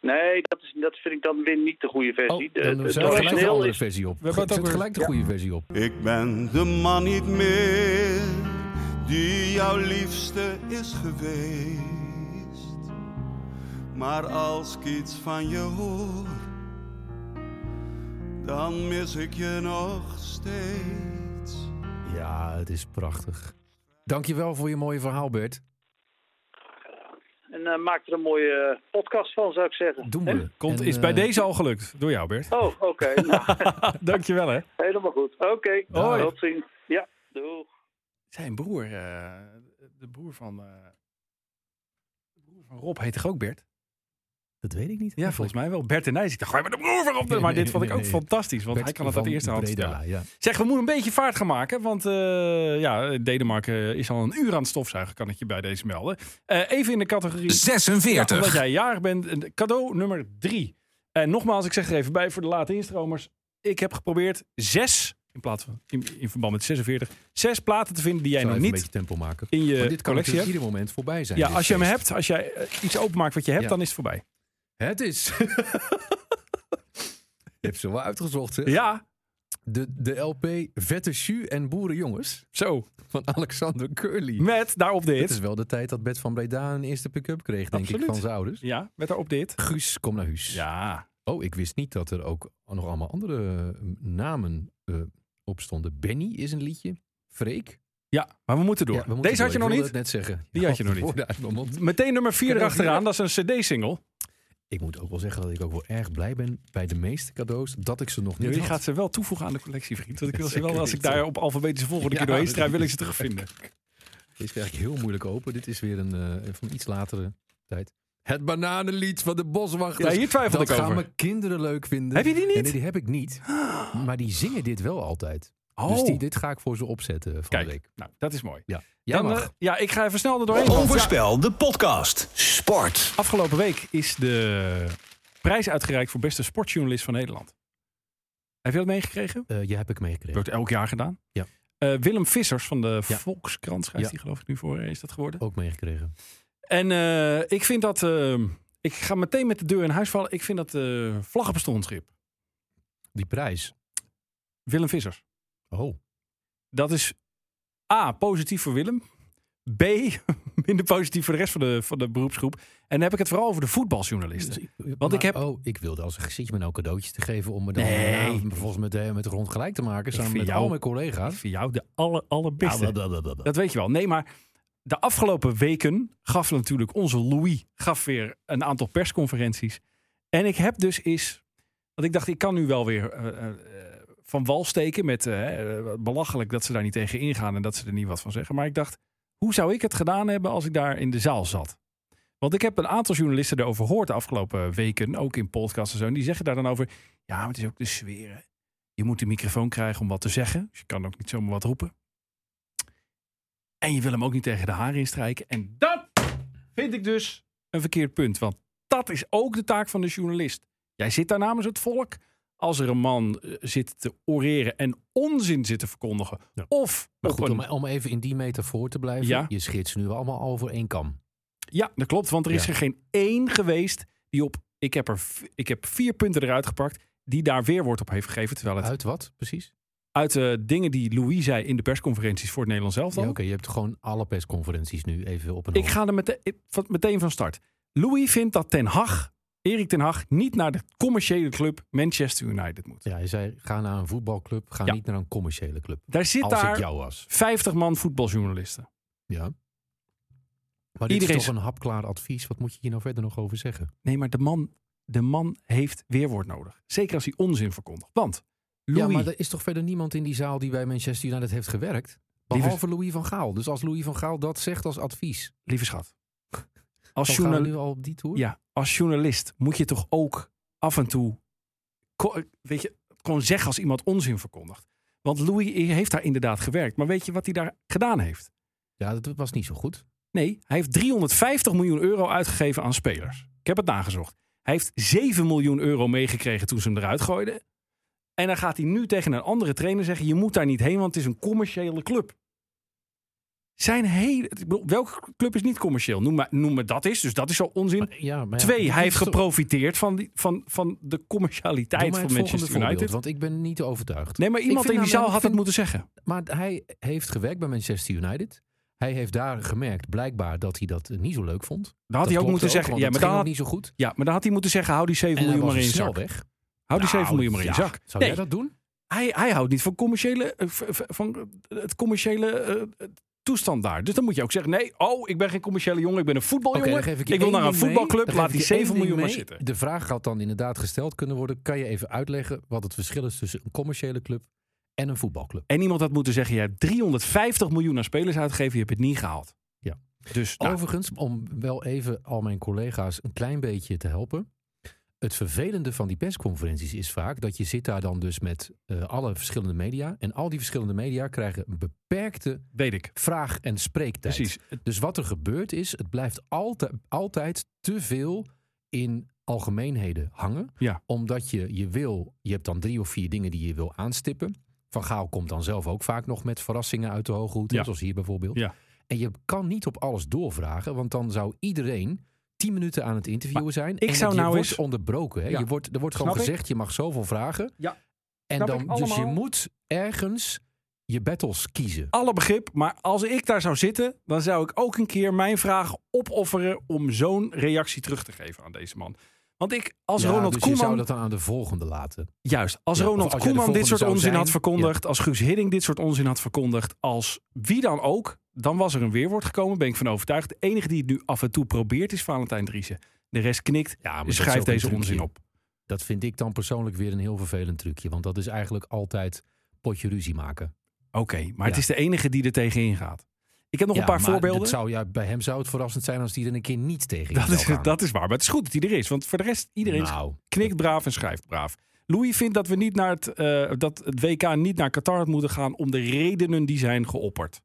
S6: Nee, dat, is, dat vind ik dan weer niet de goede versie.
S4: Oh,
S6: De-
S4: dan
S6: de-
S4: zet ik
S6: het
S4: gelijk de
S6: origineel
S4: andere
S6: is-
S4: versie op. We
S3: hebben het ook weer-
S4: gelijk de goede versie op.
S7: Ik ben de man niet meer die jouw liefste is geweest. Maar als ik iets van je hoor, dan mis ik je nog steeds.
S4: Ja, het is prachtig. Dankjewel voor je mooie verhaal, Bert.
S6: En eh, maak er een mooie eh, podcast van, zou ik zeggen.
S4: Doen we.
S3: Komt,
S4: En,
S3: is bij
S4: eh,
S3: deze al gelukt. Door jou, Bert.
S6: Oh, oké. Nou,
S3: Dankjewel, hè.
S6: helemaal goed. Oké,
S4: Hoi.
S6: tot ziens. Ja, doeg.
S3: Zijn broer, de broer van... de broer van Rob heet toch ook Bert?
S4: Dat weet ik niet.
S3: Ja, volgens mij wel. Bert en Nijs. Ik dacht, ga je met de broer van Rob? doen? Maar dit vond ik ook fantastisch, want hij kan het uit de eerste hand vertellen.
S4: Ja.
S3: Zeg, we moeten een beetje vaart gaan maken. Want eh, ja, Denemarken is al een uur aan het stofzuigen, kan ik je bij deze melden. Eh, even in de categorie.
S1: 46.
S3: Omdat jij jarig bent, een cadeau nummer drie. En nogmaals, ik zeg er even bij voor de late instromers. Ik heb geprobeerd zes, in, plaats van, in, in verband met 46, zes platen te vinden die jij
S4: Zal
S3: nog
S4: even een
S3: niet
S4: beetje tempo maken.
S3: in
S4: Want
S3: je
S4: dit kan dus
S3: collectie
S4: natuurlijk
S3: Eh, hebt.
S4: ieder moment voorbij zijn.
S3: Ja,
S4: dit
S3: als je hem
S4: feest.
S3: hebt, als jij eh, iets openmaakt wat je hebt,
S4: Ja.
S3: dan is het voorbij.
S4: Het is. je hebt ze wel uitgezocht, hè?
S3: Ja,
S4: de, de LP Vette Sju en Boerenjongens
S3: Zo,
S4: van Alexander Curly.
S3: met daarop
S4: Het is
S3: dit.
S4: wel de tijd dat Bert van Breda een eerste pick-up kreeg, denk
S3: Absoluut.
S4: ik, van zijn ouders.
S3: Ja, met daarop dit.
S4: Guus, kom naar huis.
S3: Ja,
S4: Oh, ik wist niet dat er ook nog allemaal andere eh, namen eh, op stonden. Benny is een liedje. Freek.
S3: ja maar we moeten door.
S4: Ja, we moeten
S3: Deze had je
S4: door.
S3: nog
S4: Ik wilde
S3: niet?
S4: het net zeggen.
S3: Die had je nog niet.
S4: woorden uit mijn mond.
S3: Meteen nummer 4
S4: Kunnen we
S3: erachteraan, dat is een cd-single.
S4: Ik moet ook wel zeggen dat ik ook wel erg blij ben bij de meeste cadeaus dat ik ze nog niet
S3: Jullie
S4: had.
S3: gaat ze wel toevoegen aan de collectie, vriend. Want ik wil ze
S4: Zeker
S3: wel, als ik
S4: weten.
S3: daar op alfabetische volgorde
S4: Ja,
S3: keer doorheen
S4: dat
S3: strijd,
S4: is-
S3: wil ik ze terugvinden.
S4: Deze krijg ik heel moeilijk open. Dit is weer een eh, van iets latere tijd. Het bananenlied van de
S3: Ja,
S4: boswachters.
S3: hier twijfel
S4: dat
S3: ik
S4: gaan
S3: over.
S4: mijn kinderen leuk vinden.
S3: Heb je die niet?
S4: En nee, die heb ik niet. Maar die zingen dit wel altijd. Dus die, dit ga ik voor ze opzetten van
S3: Oh. Kijk,
S4: de week. Oh.
S3: nou, dat is mooi.
S4: Ja, jij
S3: Dan,
S4: mag.
S3: eh, ja, ik ga even snel er doorheen. want ja,
S1: Overspel, de podcast.
S2: Sport.
S3: afgelopen week is de prijs uitgereikt voor beste sportjournalist van Nederland. Heb je dat meegekregen?
S4: Eh, jij heb ik meegekregen.
S3: Wordt elk jaar gedaan.
S4: Ja.
S3: Eh, Willem Vissers van de
S4: Ja.
S3: Volkskrant schrijft
S4: Ja. Oh.
S3: die geloof ik nu voor, eh, is dat geworden.
S4: Ook meegekregen.
S3: En eh, ik vind dat, eh, ik ga meteen met de deur in huis vallen. Ik vind dat eh vlaggen op een stondschip.
S4: Die prijs.
S3: Willem Vissers.
S4: Oh.
S3: Dat is A, positief voor Willem. B, minder positief voor de rest van de, van de beroepsgroep. En dan heb ik het vooral over de voetbaljournalisten.
S4: Want
S3: Dus ik heb-
S4: Oh, ik wilde als een gezicht me nou cadeautjes te geven om me dan
S3: Nee.
S4: nou, vervolgens met de, met de grond gelijk te maken. Samen
S3: vind
S4: met
S3: jou-
S4: al mijn collega's.
S3: Voor jou de aller, allerbeste.
S4: Ja, blablabla.
S3: Dat weet je wel. Nee, maar de afgelopen weken gaf natuurlijk onze Louis gaf weer een aantal persconferenties. En ik heb dus eens... Want ik dacht, ik kan nu wel weer eh, eh, eh, van wal steken met... eh, eh, belachelijk dat ze daar niet tegen ingaan en dat ze er niet wat van zeggen. Maar ik dacht, hoe zou ik het gedaan hebben als ik daar in de zaal zat? Want ik heb een aantal journalisten erover gehoord de afgelopen weken. Ook in podcasts en zo. En die zeggen daar dan over... Ja, maar het is ook de sfeer. hè. Je moet de microfoon krijgen om wat te zeggen. Dus je kan ook niet zomaar wat roepen. En je wil hem ook niet tegen de haren instrijken. En dat vind ik dus een verkeerd punt. Want dat is ook de taak van de journalist. Jij zit daar namens het volk. Als er een man eh, zit te oreren en onzin zit te verkondigen.
S4: Ja.
S3: Of
S4: Maar
S3: op
S4: goed,
S3: een-
S4: om, om even in die metafoor te blijven.
S3: Ja.
S4: Je schitst nu allemaal al voor één kam.
S3: Ja, dat klopt. Want er is
S4: Ja.
S3: er geen één geweest die op... Ik heb, er, v- ik heb vier punten eruit gepakt die daar weerwoord op heeft gegeven. Terwijl het uit,
S4: Uit wat precies?
S3: de dingen die Louis zei in de persconferenties voor het Nederlands
S4: Ja,
S3: elftal.
S4: Oké, je hebt gewoon alle persconferenties nu even op een
S3: Ik
S4: hoop.
S3: ga er meteen, ik- van- meteen van start. Louis vindt dat Ten Hag, Erik Ten Hag, niet naar de commerciële club Manchester United moet.
S4: Ja, hij zei, ga naar een voetbalclub, ga
S3: Ja.
S4: niet naar een commerciële club.
S3: Daar zit
S4: Als ik
S3: daar
S4: jou was.
S3: 50 man voetbaljournalisten.
S4: Ja. Maar dit
S3: Iedereen
S4: is toch
S3: is-
S4: een hapklaar advies. Wat moet je hier nou verder nog over zeggen?
S3: Nee, maar de man, de man heeft weerwoord nodig. Zeker als hij onzin verkondigt. Want Louis,
S4: Ja, maar er is toch verder niemand in die zaal die bij Manchester United heeft gewerkt?
S3: Lieve-
S4: Behalve Louis van Gaal. Dus als Louis van Gaal dat zegt als advies,
S3: lieve schat, als,
S4: dan gaan we
S3: journal,
S4: nu al op die tour?
S3: ja, als journalist moet je toch ook af en toe ko- weet je, gewoon zeggen als iemand onzin verkondigt. Want Louis heeft daar inderdaad gewerkt. Maar weet je wat hij daar gedaan heeft?
S4: ja, dat was niet zo goed.
S3: Nee, hij heeft 350 miljoen euro uitgegeven aan spelers. Ik heb het nagezocht. Hij heeft 7 miljoen euro meegekregen toen ze hem eruit gooiden. En dan gaat hij nu tegen een andere trainer zeggen: Je moet daar niet heen, want het is een commerciële club. Zijn hele. ik bedoel, welke club is niet commercieel? Noem maar, noem maar dat is. Dus dat is al onzin.
S4: Ja, maar ja,
S3: Twee,
S4: dit
S3: hij heeft
S4: is toch-
S3: geprofiteerd van, die, van, van de
S4: Doe
S3: commercialiteit van
S4: maar het volgende
S3: Manchester United.
S4: voorbeeld, Want ik ben niet overtuigd.
S3: Nee, maar
S4: Ik
S3: iemand
S4: vind
S3: in die
S4: namelijk-
S3: zaal
S4: ik
S3: had het
S4: vind-
S3: moeten zeggen.
S4: Maar hij heeft gewerkt bij Manchester United. Hij heeft daar gemerkt, blijkbaar, dat hij dat eh, niet zo leuk vond.
S3: Dan had hij ook moeten zeggen. Ja maar, dan
S4: dat
S3: had,
S4: niet Nou, zo goed.
S3: ja, maar dan had hij moeten zeggen: Hou die 7
S4: En hij
S3: miljoen
S4: was
S3: maar in
S4: er
S3: je
S4: snel
S3: zak.
S4: weg.
S3: Hou die 7
S4: Nou,
S3: miljoen maar in je
S4: ja.
S3: zak.
S4: Zou jij
S3: Nee.
S4: dat doen?
S3: hij, hij houdt niet van commerciële, eh, v- v- van het commerciële eh, toestand daar. Dus dan moet je ook zeggen: nee, oh, ik ben geen commerciële jongen, ik ben een
S4: Oké,
S3: voetbaljongen.
S4: dan geef
S3: ik
S4: ik je
S3: wil
S4: één
S3: naar een
S4: ding mee.
S3: voetbalclub,
S4: Dan
S3: laat
S4: geef
S3: die
S4: ik je één
S3: 7
S4: ding
S3: miljoen maar
S4: mee.
S3: zitten.
S4: De vraag had dan inderdaad gesteld kunnen worden. Kan je even uitleggen wat het verschil is tussen een commerciële club en een voetbalclub?
S3: En iemand had moeten zeggen: je hebt 350 miljoen aan spelers uitgegeven, je hebt het niet gehaald.
S4: Ja.
S3: Dus nou,
S4: Overigens, om wel even al mijn collega's een klein beetje te helpen. Het vervelende van die persconferenties is vaak dat je zit daar dan dus met eh, alle verschillende media. En al die verschillende media krijgen een beperkte
S3: weet ik.
S4: vraag- en spreektijd.
S3: Precies.
S4: Dus wat er gebeurt is, het blijft altijd, altijd te veel in algemeenheden hangen.
S3: Ja.
S4: Omdat je, je wil, je hebt dan drie of vier dingen die je wil aanstippen. Van Gaal komt dan zelf ook vaak nog met verrassingen uit de hoge hoed. hè,
S3: Ja.
S4: Zoals hier bijvoorbeeld.
S3: Ja.
S4: En je kan niet op alles doorvragen, want dan zou iedereen tien minuten aan het interviewen zijn.
S3: ik
S4: en
S3: zou
S4: je
S3: nou
S4: wordt
S3: eens-
S4: onderbroken. Hè?
S3: Ja.
S4: Je wordt, er wordt gewoon
S3: Snap ik.
S4: gezegd, je mag zoveel vragen.
S3: Ja.
S4: En
S3: Snap
S4: dan,
S3: ik
S4: dus je
S3: allemaal.
S4: moet ergens je battles kiezen.
S3: Alle begrip, maar als ik daar zou zitten, dan zou ik ook een keer mijn vraag opofferen om zo'n reactie terug te geven aan deze man. Want ik, als
S4: Ja,
S3: Ronald
S4: dus je
S3: Koeman.
S4: zou dat dan aan de volgende laten.
S3: Juist, als
S4: Ja, of
S3: Ronald
S4: als jij de
S3: Koeman dit
S4: volgende
S3: soort
S4: zou
S3: onzin
S4: zijn,
S3: had verkondigd, als Guus Hiddink dit soort onzin had verkondigd, als wie dan ook, dan was er een weerwoord gekomen, ben ik van overtuigd. De enige die het nu af en toe probeert is Valentijn Driessen. De rest knikt,
S4: Ja, maar
S3: en
S4: dat is
S3: schrijft
S4: ook een
S3: deze
S4: trucje.
S3: onzin op.
S4: Dat vind ik dan persoonlijk weer een heel vervelend trucje. Want dat is eigenlijk altijd potje ruzie maken.
S3: Oké, maar het
S4: Ja.
S3: is de enige die er tegenin gaat. Ik heb nog
S4: Ja,
S3: een paar
S4: maar
S3: voorbeelden.
S4: dat Zou, ja, bij hem zou het verrassend zijn als die er een keer niet tegen
S3: Dat
S4: in
S3: is,
S4: zou gaan.
S3: dat is waar, maar het is goed dat hij er is. Want voor de rest, iedereen
S4: Nou,
S3: knikt braaf en schrijft braaf. Louis vindt dat we niet naar het, eh, dat het WK niet naar Qatar had moeten gaan om de redenen die zijn geopperd.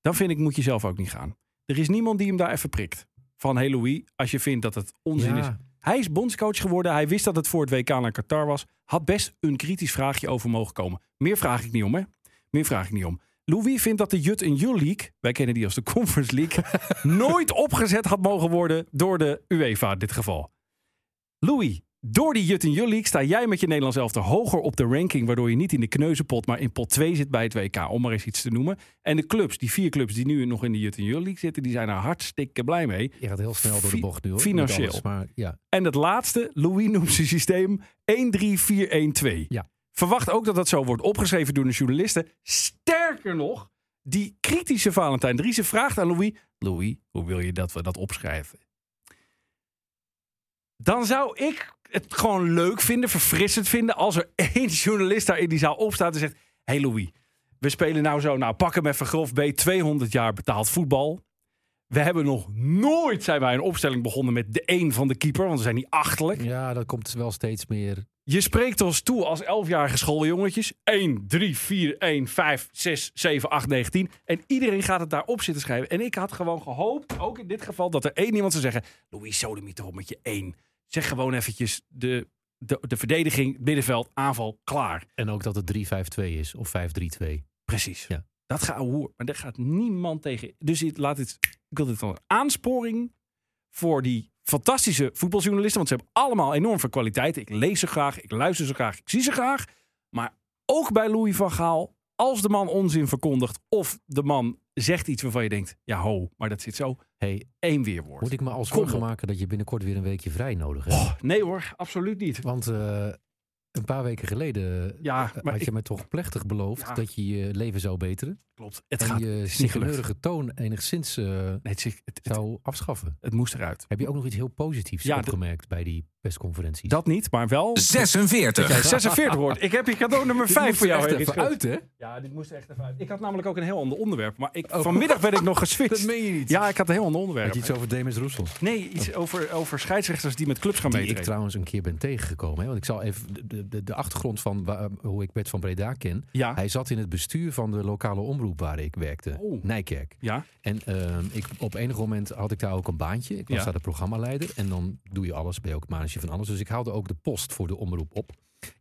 S3: Dan vind ik, moet je zelf ook niet gaan. Er is niemand die hem daar even prikt. Van, hey Louis, als je vindt dat het onzin
S4: ja,
S3: is. Hij is bondscoach geworden. Hij wist dat het voor het WK naar Qatar was. Had best een kritisch vraagje over mogen komen. Meer vraag ik niet om, hè? Meer vraag ik niet om. Louis vindt dat de Jut en Jul League, wij kennen die als de Conference League, nooit opgezet had mogen worden door de UEFA in dit geval. Louis, door die Jut en Jul League sta jij met je Nederlands elftal hoger op de ranking, waardoor je niet in de kneuzenpot, maar in pot 2 zit bij het WK, om maar eens iets te noemen. En de clubs, die vier clubs die nu nog in de Jut en Jul League zitten, die zijn er hartstikke blij mee.
S4: je gaat heel snel door de
S3: Fi-
S4: bocht nu. hoor, met
S3: financieel.
S4: alles, maar ja,
S3: En het laatste, Louis noemt zijn systeem 13412.
S4: Ja.
S3: Verwacht ook dat dat zo wordt opgeschreven door de journalisten. Sterker nog, die kritische Valentijn Driessen vraagt aan Louis: Louis, hoe wil je dat we dat opschrijven? Dan zou ik het gewoon leuk vinden, verfrissend vinden, als er één journalist daar in die zaal opstaat en zegt: hey Louis, we spelen nou zo, nou pak hem even grof B, 200 jaar betaald voetbal. We hebben nog nooit, zijn wij, een opstelling begonnen met de één van de keeper, want we zijn niet achterlijk.
S4: ja, dat komt wel steeds meer.
S3: Je spreekt ons toe als 11-jarige schooljongetjes. 1, 3, 4, 1, 5, 6, 7, 8, 9, 10. En iedereen gaat het daarop zitten schrijven. En ik had gewoon gehoopt, ook in dit geval, dat er één iemand zou zeggen... Louis Sodemiet erop met je 1. Zeg gewoon eventjes de, de, de verdediging, middenveld, aanval, klaar.
S4: En ook dat het 3-5-2 is of 5-3-2.
S3: Precies.
S4: Ja.
S3: Dat gaat hoer. Maar daar gaat niemand tegen. Dus dit- laat dit, ik wil dit dan een aansporing voor die fantastische voetbaljournalisten. Want ze hebben allemaal enorm veel kwaliteiten. Ik lees ze graag, ik luister ze graag, ik zie ze graag. Maar ook bij Louis van Gaal, als de man onzin verkondigt... of de man zegt iets waarvan je denkt, ja ho, maar dat zit zo.
S4: Hey,
S3: één weerwoord.
S4: moet ik me al
S3: Kom
S4: zorgen
S3: op.
S4: maken dat je binnenkort weer een weekje vrij nodig hebt?
S3: Oh, nee hoor, absoluut niet.
S4: Want eh, een paar weken geleden
S3: Ja,
S4: eh,
S3: maar
S4: had je
S3: ik,
S4: mij toch plechtig beloofd
S3: Ja.
S4: dat je je leven zou beteren.
S3: klopt. Het
S4: en
S3: gaat... Nee,
S4: je
S3: is niet gelukt.
S4: zigeunerige toon enigszins eh,
S3: het, is- het, het,
S4: zou afschaffen.
S3: het moest eruit.
S4: Heb je ook nog iets heel positiefs
S3: Ja, dat-
S4: opgemerkt bij die persconferenties?
S3: Dat niet, maar wel...
S1: 46.
S3: Jij 46 wordt. Ik heb hier cadeau nummer 5 voor jou.
S4: echt
S3: Henry
S4: even
S3: Schut.
S4: uit, hè?
S3: Ja, dit moest er echt even uit. Ik had namelijk ook een heel ander onderwerp. Maar ik, vanmiddag ben ik nog geswitcht.
S4: Dat meen je niet.
S3: Ja, ik had een heel ander
S4: Had
S3: onderwerp.
S4: je iets over Demis Roesel?
S3: Nee, iets over, over scheidsrechters die met clubs gaan
S4: Die ik
S3: meetreden.
S4: trouwens een keer ben tegengekomen. Hè? Want ik zal even de- de, de, de achtergrond van wa- eh, hoe ik Bert van Breda ken.
S3: Ja.
S4: Hij zat in het bestuur van de lokale omroep waar ik werkte.
S3: Oh.
S4: Nijkerk.
S3: Ja,
S4: En ehm, ik, op enig moment had ik daar ook een baantje. Ik was
S3: Ja.
S4: daar de programmaleider. En dan doe je alles, ben je ook manager van alles. Dus ik haalde ook de post voor de omroep op.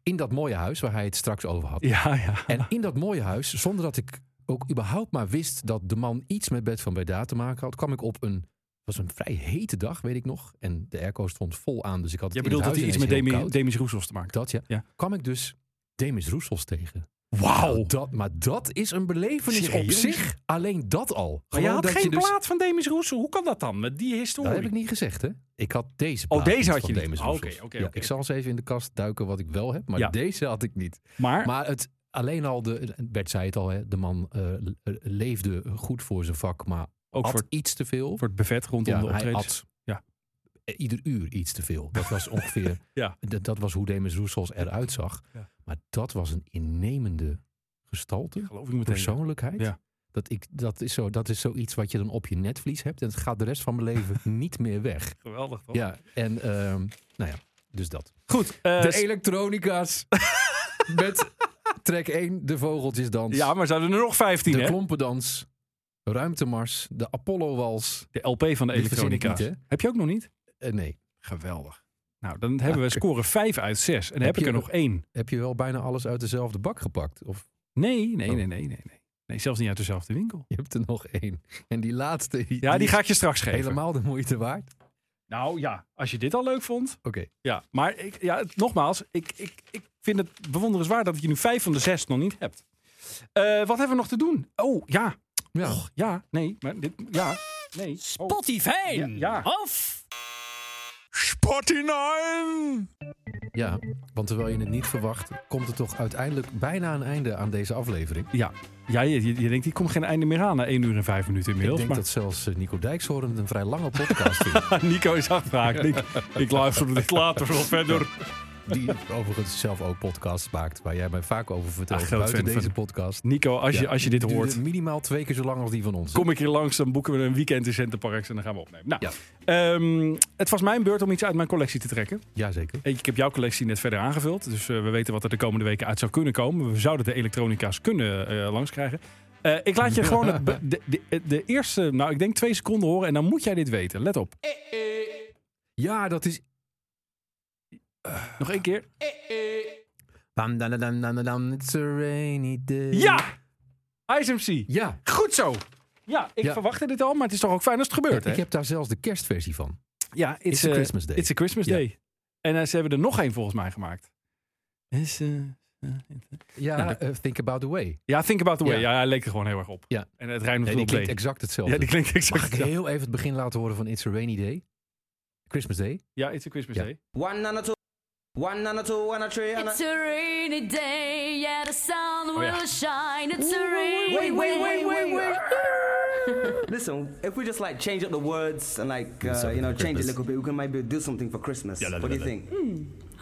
S4: In dat mooie huis waar hij het straks over had.
S3: ja, ja.
S4: En in dat mooie huis, zonder dat ik ook überhaupt maar wist dat de man iets met Bert van Breda te maken had, kwam ik op een. Het was een vrij hete dag, weet ik nog. En de airco stond vol aan, dus ik had
S3: Je
S4: het
S3: bedoelt dat hij iets met Demi,
S4: Demis...
S3: Demis Roesels te maken
S4: Dat ja.
S3: Ja.
S4: Kwam ik dus Demis Roesels tegen. Nou,
S3: Wauw.
S4: Dat, maar dat is een belevenis op
S3: Serieus?
S4: zich. Alleen dat al.
S3: Maar je
S4: Gewoon
S3: had
S4: dat
S3: geen
S4: je dus-
S3: plaat van Demis Roesel. Hoe kan dat dan? Met die historie?
S4: dat heb ik niet gezegd, hè? Ik had deze.
S3: Oh,
S4: plaat
S3: deze
S4: niet
S3: had
S4: van
S3: je niet.
S4: Demis
S3: Oh, oké,
S4: Roussos.
S3: oké,
S4: Ja,
S3: oké.
S4: Ik zal eens even in de kast duiken wat ik wel heb, maar
S3: Ja. Ah.
S4: deze had ik niet.
S3: Maar,
S4: Maar het, alleen al, de, Bert zei het al, hè, de man eh, le- leefde goed voor zijn vak, maar
S3: ook
S4: had
S3: voor,
S4: iets te veel.
S3: voor het buffet rondom de
S4: Ja, hij
S3: optredens.
S4: at
S3: Ja.
S4: ieder uur iets te veel. Dat was ongeveer,
S3: Ja.
S4: dat, dat was hoe Demis Roussos eruit zag.
S3: Ja.
S4: Maar dat was een innemende gestalte,
S3: Geloof ik meteen.
S4: persoonlijkheid.
S3: Ja.
S4: Dat, ik, dat, is zo, dat is zoiets wat je dan op je netvlies hebt. En het gaat de rest van mijn leven niet meer weg.
S3: Geweldig, toch?
S4: Ja, en ehm, nou ja, dus dat.
S3: Goed. eh,
S4: de elektronica's met track 1, de vogeltjesdans,
S3: ja, maar zouden er nog 15,
S4: de
S3: hè?
S4: klompendans, ruimtemars, de Apollo-wals.
S3: De LP van de
S4: Die verzin ik
S3: elektronica.
S4: niet, hè?
S3: Heb je ook nog niet?
S4: Eh, nee,
S3: Geweldig. Nou, dan hebben we score 5 uit 6. En dan heb
S4: Heb
S3: ik er
S4: je-
S3: nog één.
S4: heb je wel bijna alles uit dezelfde bak gepakt? Of
S3: Nee, nee,
S4: Oh.
S3: nee, nee, nee, nee. Nee, zelfs niet uit dezelfde winkel.
S4: je hebt er nog één? En die laatste,
S3: Ja, die, ga ik je straks geven.
S4: helemaal de moeite waard.
S3: Nou ja, als je dit al leuk vond.
S4: Oké,
S3: Ja, maar ik, ja, het- nogmaals, ik, ik, ik vind het bewonderenswaardig dat je nu vijf van de zes nog niet hebt. Eh, wat hebben we nog te doen? Oh, ja.
S4: Ja.
S3: Och, ja, nee. Maar dit, ja, nee. Oh.
S8: Spotify.
S3: Ja, ja.
S8: Of
S9: Sportinine!
S4: Ja, want terwijl je het niet verwacht, komt er toch uiteindelijk bijna een einde aan deze aflevering.
S3: Ja, ja je, je, je denkt, die komt geen einde meer aan na 1 uur en 5 minuten
S4: Ik
S3: inmiddels.
S4: denk
S3: maar
S4: dat zelfs eh, Nico Dijkshoorn het een vrij lange podcast vindt.
S3: Nico is afgehaakt. ik, ik luister dit later wel verder.
S4: Die overigens zelf ook podcasts maakt, waar jij mij vaak over vertelt
S3: Ah, groot
S4: buiten
S3: fan van-
S4: deze podcast.
S3: Nico, als, je,
S4: Ja,
S3: als je
S4: die
S3: dit
S4: duurde
S3: hoort,
S4: Minimaal twee keer zo lang als die van ons.
S3: kom ik hier langs. Dan boeken we een weekend in Centerparks en dan gaan we opnemen. Nou,
S4: Ja.
S3: ehm, het was mijn beurt om iets uit mijn collectie te trekken.
S4: Jazeker.
S3: Ik heb jouw collectie net verder aangevuld. Dus eh, we weten wat er de komende weken uit zou kunnen komen. We zouden de elektronica's kunnen eh, langskrijgen. Eh, ik laat je gewoon het be- de, de, de eerste, nou ik denk twee seconden horen. En dan moet jij dit weten. Let op.
S4: Ja, dat is...
S3: Nog één keer.
S4: Bam, dan, dan, dan, dan, dan, It's a rainy day.
S3: Ja! ISMC.
S4: Ja,
S3: Goed zo. Ja, ik
S4: Ja.
S3: verwachtte dit al, maar het is toch ook fijn als het gebeurt.
S4: ik
S3: hè?
S4: heb daar zelfs de kerstversie van.
S3: ja, it's, eh,
S4: a Christmas day.
S3: It's a Christmas
S4: Ja.
S3: day. En eh, ze hebben er nog één volgens mij gemaakt. Is, eh,
S4: Ja, eh, Think About The Way.
S3: ja, Think About The Way.
S4: Ja.
S3: Ja, hij leek er gewoon heel erg op.
S4: Ja.
S3: En het rijmt
S4: Nee,
S3: nog
S4: die
S3: op
S4: klinkt
S3: mee.
S4: exact hetzelfde.
S3: Ja, die klinkt
S4: Mag ik
S3: exact.
S4: heel even het begin laten horen van It's a Rainy Day? Christmas Day?
S3: Ja, It's a Christmas
S4: Ja.
S3: Day.
S5: One and a two, one and a two, one and a three and a...
S10: It's a rainy day, yeah, the sun
S3: ja.
S10: will shine. It's a rainy
S5: Oh, Wait, wait, wait,
S10: day.
S5: wait, wait. Listen, if we just like change up the words and like uh, you know change it a little bit, we can maybe do something for Christmas. what do you think?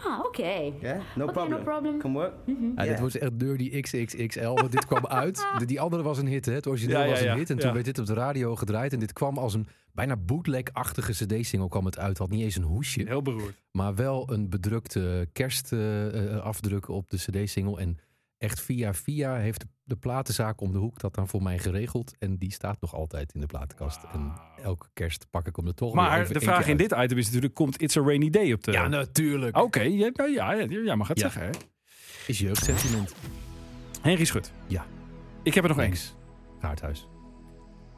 S10: Ah, okay.
S5: Yeah, no
S10: Okay,
S5: problem.
S10: no problem.
S5: Can work.
S4: Ja, Dit wordt echt Dirty XXXL, want dit kwam uit. De- Die andere was een hit, hè? Het origineel
S3: Ja, ja,
S4: was een
S3: ja.
S4: hit. En toen
S3: Ja.
S4: werd dit op de radio gedraaid. En dit kwam als een bijna bootleg-achtige cd-single kwam het uit. Had niet eens een hoesje,
S3: Heel beroerd.
S4: maar wel een bedrukte kerstafdruk op de cd-single. En echt via via heeft de- de platenzaak om de hoek dat dan voor mij geregeld. En die staat nog altijd in de platenkast. En elke kerst pak ik hem er toch weer
S3: Maar
S4: even
S3: de
S4: eentje
S3: vraag in
S4: uit.
S3: dit item is natuurlijk, komt It's a Rainy Day op de...
S4: Ja, natuurlijk.
S3: Oké, ja, nou ja, ja, jij mag het
S4: Ja.
S3: zeggen. Hè?
S4: Is jeugdsentiment.
S3: Henry Schut.
S4: Ja.
S3: Ik heb er nog één.
S4: Thanks. Gaarthuis.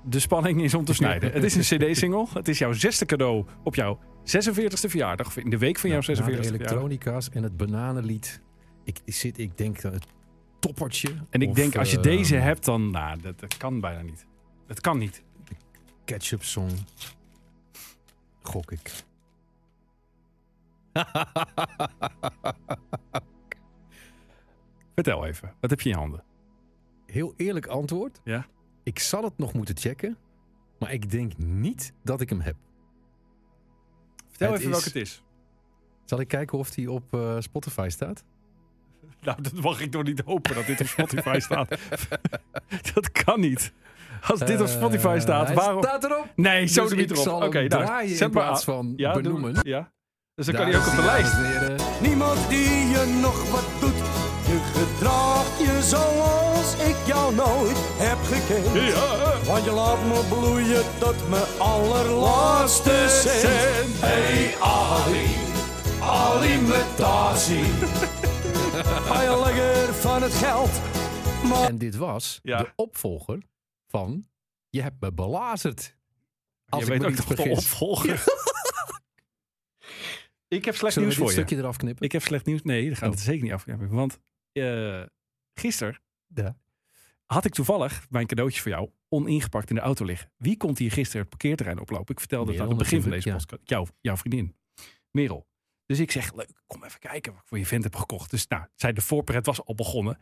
S3: De spanning is om te snijden. het is een CD-single. Het is jouw zesde cadeau op jouw 46e verjaardag. Of in de week van jouw
S4: Nou, na
S3: 46e
S4: de
S3: verjaardag.
S4: elektronica's en het bananenlied. Ik, ik zit, ik denk dat het toppertje.
S3: En ik
S4: of,
S3: denk, als je
S4: eh,
S3: deze hebt, dan... Nou, dat, dat kan bijna niet. Dat kan niet.
S4: Ketchup song. Gok ik.
S3: Vertel even. Wat heb je in je handen?
S4: Heel eerlijk antwoord.
S3: Ja.
S4: Ik zal het nog moeten checken. Maar ik denk niet dat ik hem heb.
S3: Vertel
S4: Het
S3: even
S4: is-
S3: welke het is.
S4: Zal ik kijken of die op eh, Spotify staat?
S3: Nou, dat mag ik toch niet hopen dat dit op Spotify staat. dat kan niet. Als dit op Spotify
S4: Eh,
S3: staat,
S4: hij
S3: waarom...
S4: staat erop.
S3: Nee, zo
S4: Dus
S3: doe je het
S4: ik
S3: erop.
S4: zal
S3: Oké,
S4: hem
S3: nou,
S4: draaien in
S3: zet maar
S4: plaats
S3: aan.
S4: van
S3: ja, doe-
S4: benoemen.
S3: ja, dus dan kan hij ook op de lijst.
S9: Niemand die je nog wat doet. Je gedraagt je zoals ik jou nooit heb gekend. Want je laat me bloeien tot mijn allerlaatste cent. Hey Ali, Ali met Tazi. Ga je lekker van het geld.
S4: En dit was
S3: Ja.
S4: de opvolger van Je hebt me belazerd. Als
S3: je
S4: ik
S3: weet
S4: me
S3: ook
S4: niet
S3: nog de
S4: vergis.
S3: opvolger. ik heb slecht
S4: Zullen
S3: nieuws
S4: we dit
S3: voor je.
S4: stukje eraf knippen?
S3: Ik heb slecht nieuws. Nee, dat gaat
S4: Oh.
S3: het zeker niet af. Want eh gisteren
S4: Ja.
S3: had ik toevallig mijn cadeautjes voor jou oningepakt in de auto liggen. Wie komt hier gisteren het parkeerterrein oplopen? Ik vertelde het
S4: Merel
S3: aan het begin van
S4: natuurlijk,
S3: deze podcast. Jouw, jouw vriendin, Merel. Dus ik zeg, leuk, kom even kijken wat ik voor je vent heb gekocht. Dus nou, zij, de voorpret was al begonnen.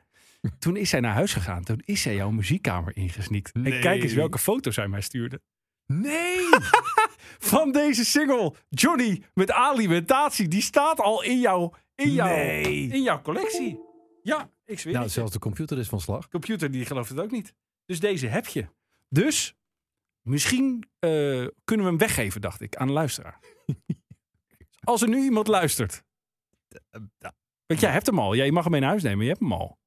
S3: Toen is zij naar huis gegaan. Toen is zij jouw muziekkamer ingesnikt. En kijk eens welke foto's zij mij stuurde.
S4: Nee!
S3: Van deze single, Johnny met alimentatie. Die staat al in jouw, in jouw, in jouw collectie. Ja, ik zweer
S4: nou,
S3: het je.
S4: zelfs de computer is van slag.
S3: computer die gelooft het ook niet. Dus deze heb je. Dus misschien eh, kunnen we hem weggeven, dacht ik, aan de luisteraar. Als er nu iemand luistert. Eh, Want jij hebt hem al. Jij mag hem mee naar huis nemen. Je hebt hem al.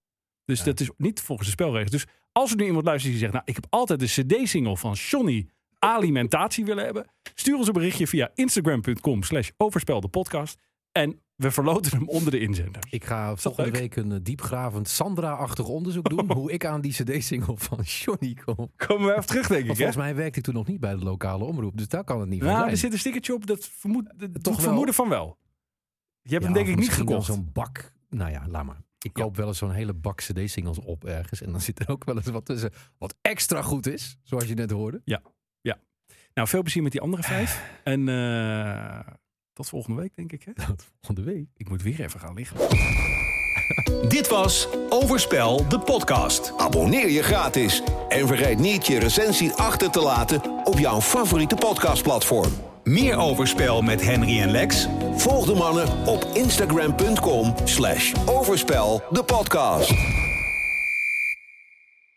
S3: Dus dat is niet volgens de spelregels. Dus als er nu iemand luistert die zegt... Nou, ik heb altijd de cd-single van Johnny Alimentatie willen hebben. Stuur ons een berichtje via instagram.com slash overspeldepodcast. En we verloten hem onder de inzender.
S4: Ik ga
S3: dat
S4: volgende
S3: leuk?
S4: week een eh, diepgravend Sandra-achtig onderzoek doen. Hoe ik aan die cd-single van Johnny kom. Want
S3: Komen we even terug, denk ik. hè?
S4: volgens mij werkte ik toen nog niet bij de lokale omroep. Dus daar kan het niet van
S3: Nou,
S4: zijn.
S3: er zit een stickertje op. Dat vermoed, dat doet
S4: wel.
S3: vermoeden van wel. Je hebt
S4: Ja,
S3: hem denk
S4: of
S3: ik niet
S4: misschien wel
S3: gekocht.
S4: zo'n bak nou ja, laat maar. Ik koop wel eens zo'n hele bak cd-singles op ergens. En dan zit er ook wel eens wat tussen wat extra goed is. Zoals je net hoorde.
S3: Nou, veel plezier met die andere vijf. En eh, tot volgende week, denk ik. Hè?
S4: Dat volgende week.
S3: Ik moet weer even gaan liggen.
S11: Dit was Overspel, de podcast.
S1: Abonneer je gratis en vergeet niet je recensie achter te laten op jouw favoriete podcastplatform.
S11: Meer Overspel met Henry en Lex
S1: Volg de mannen op instagram.com slash overspel de podcast.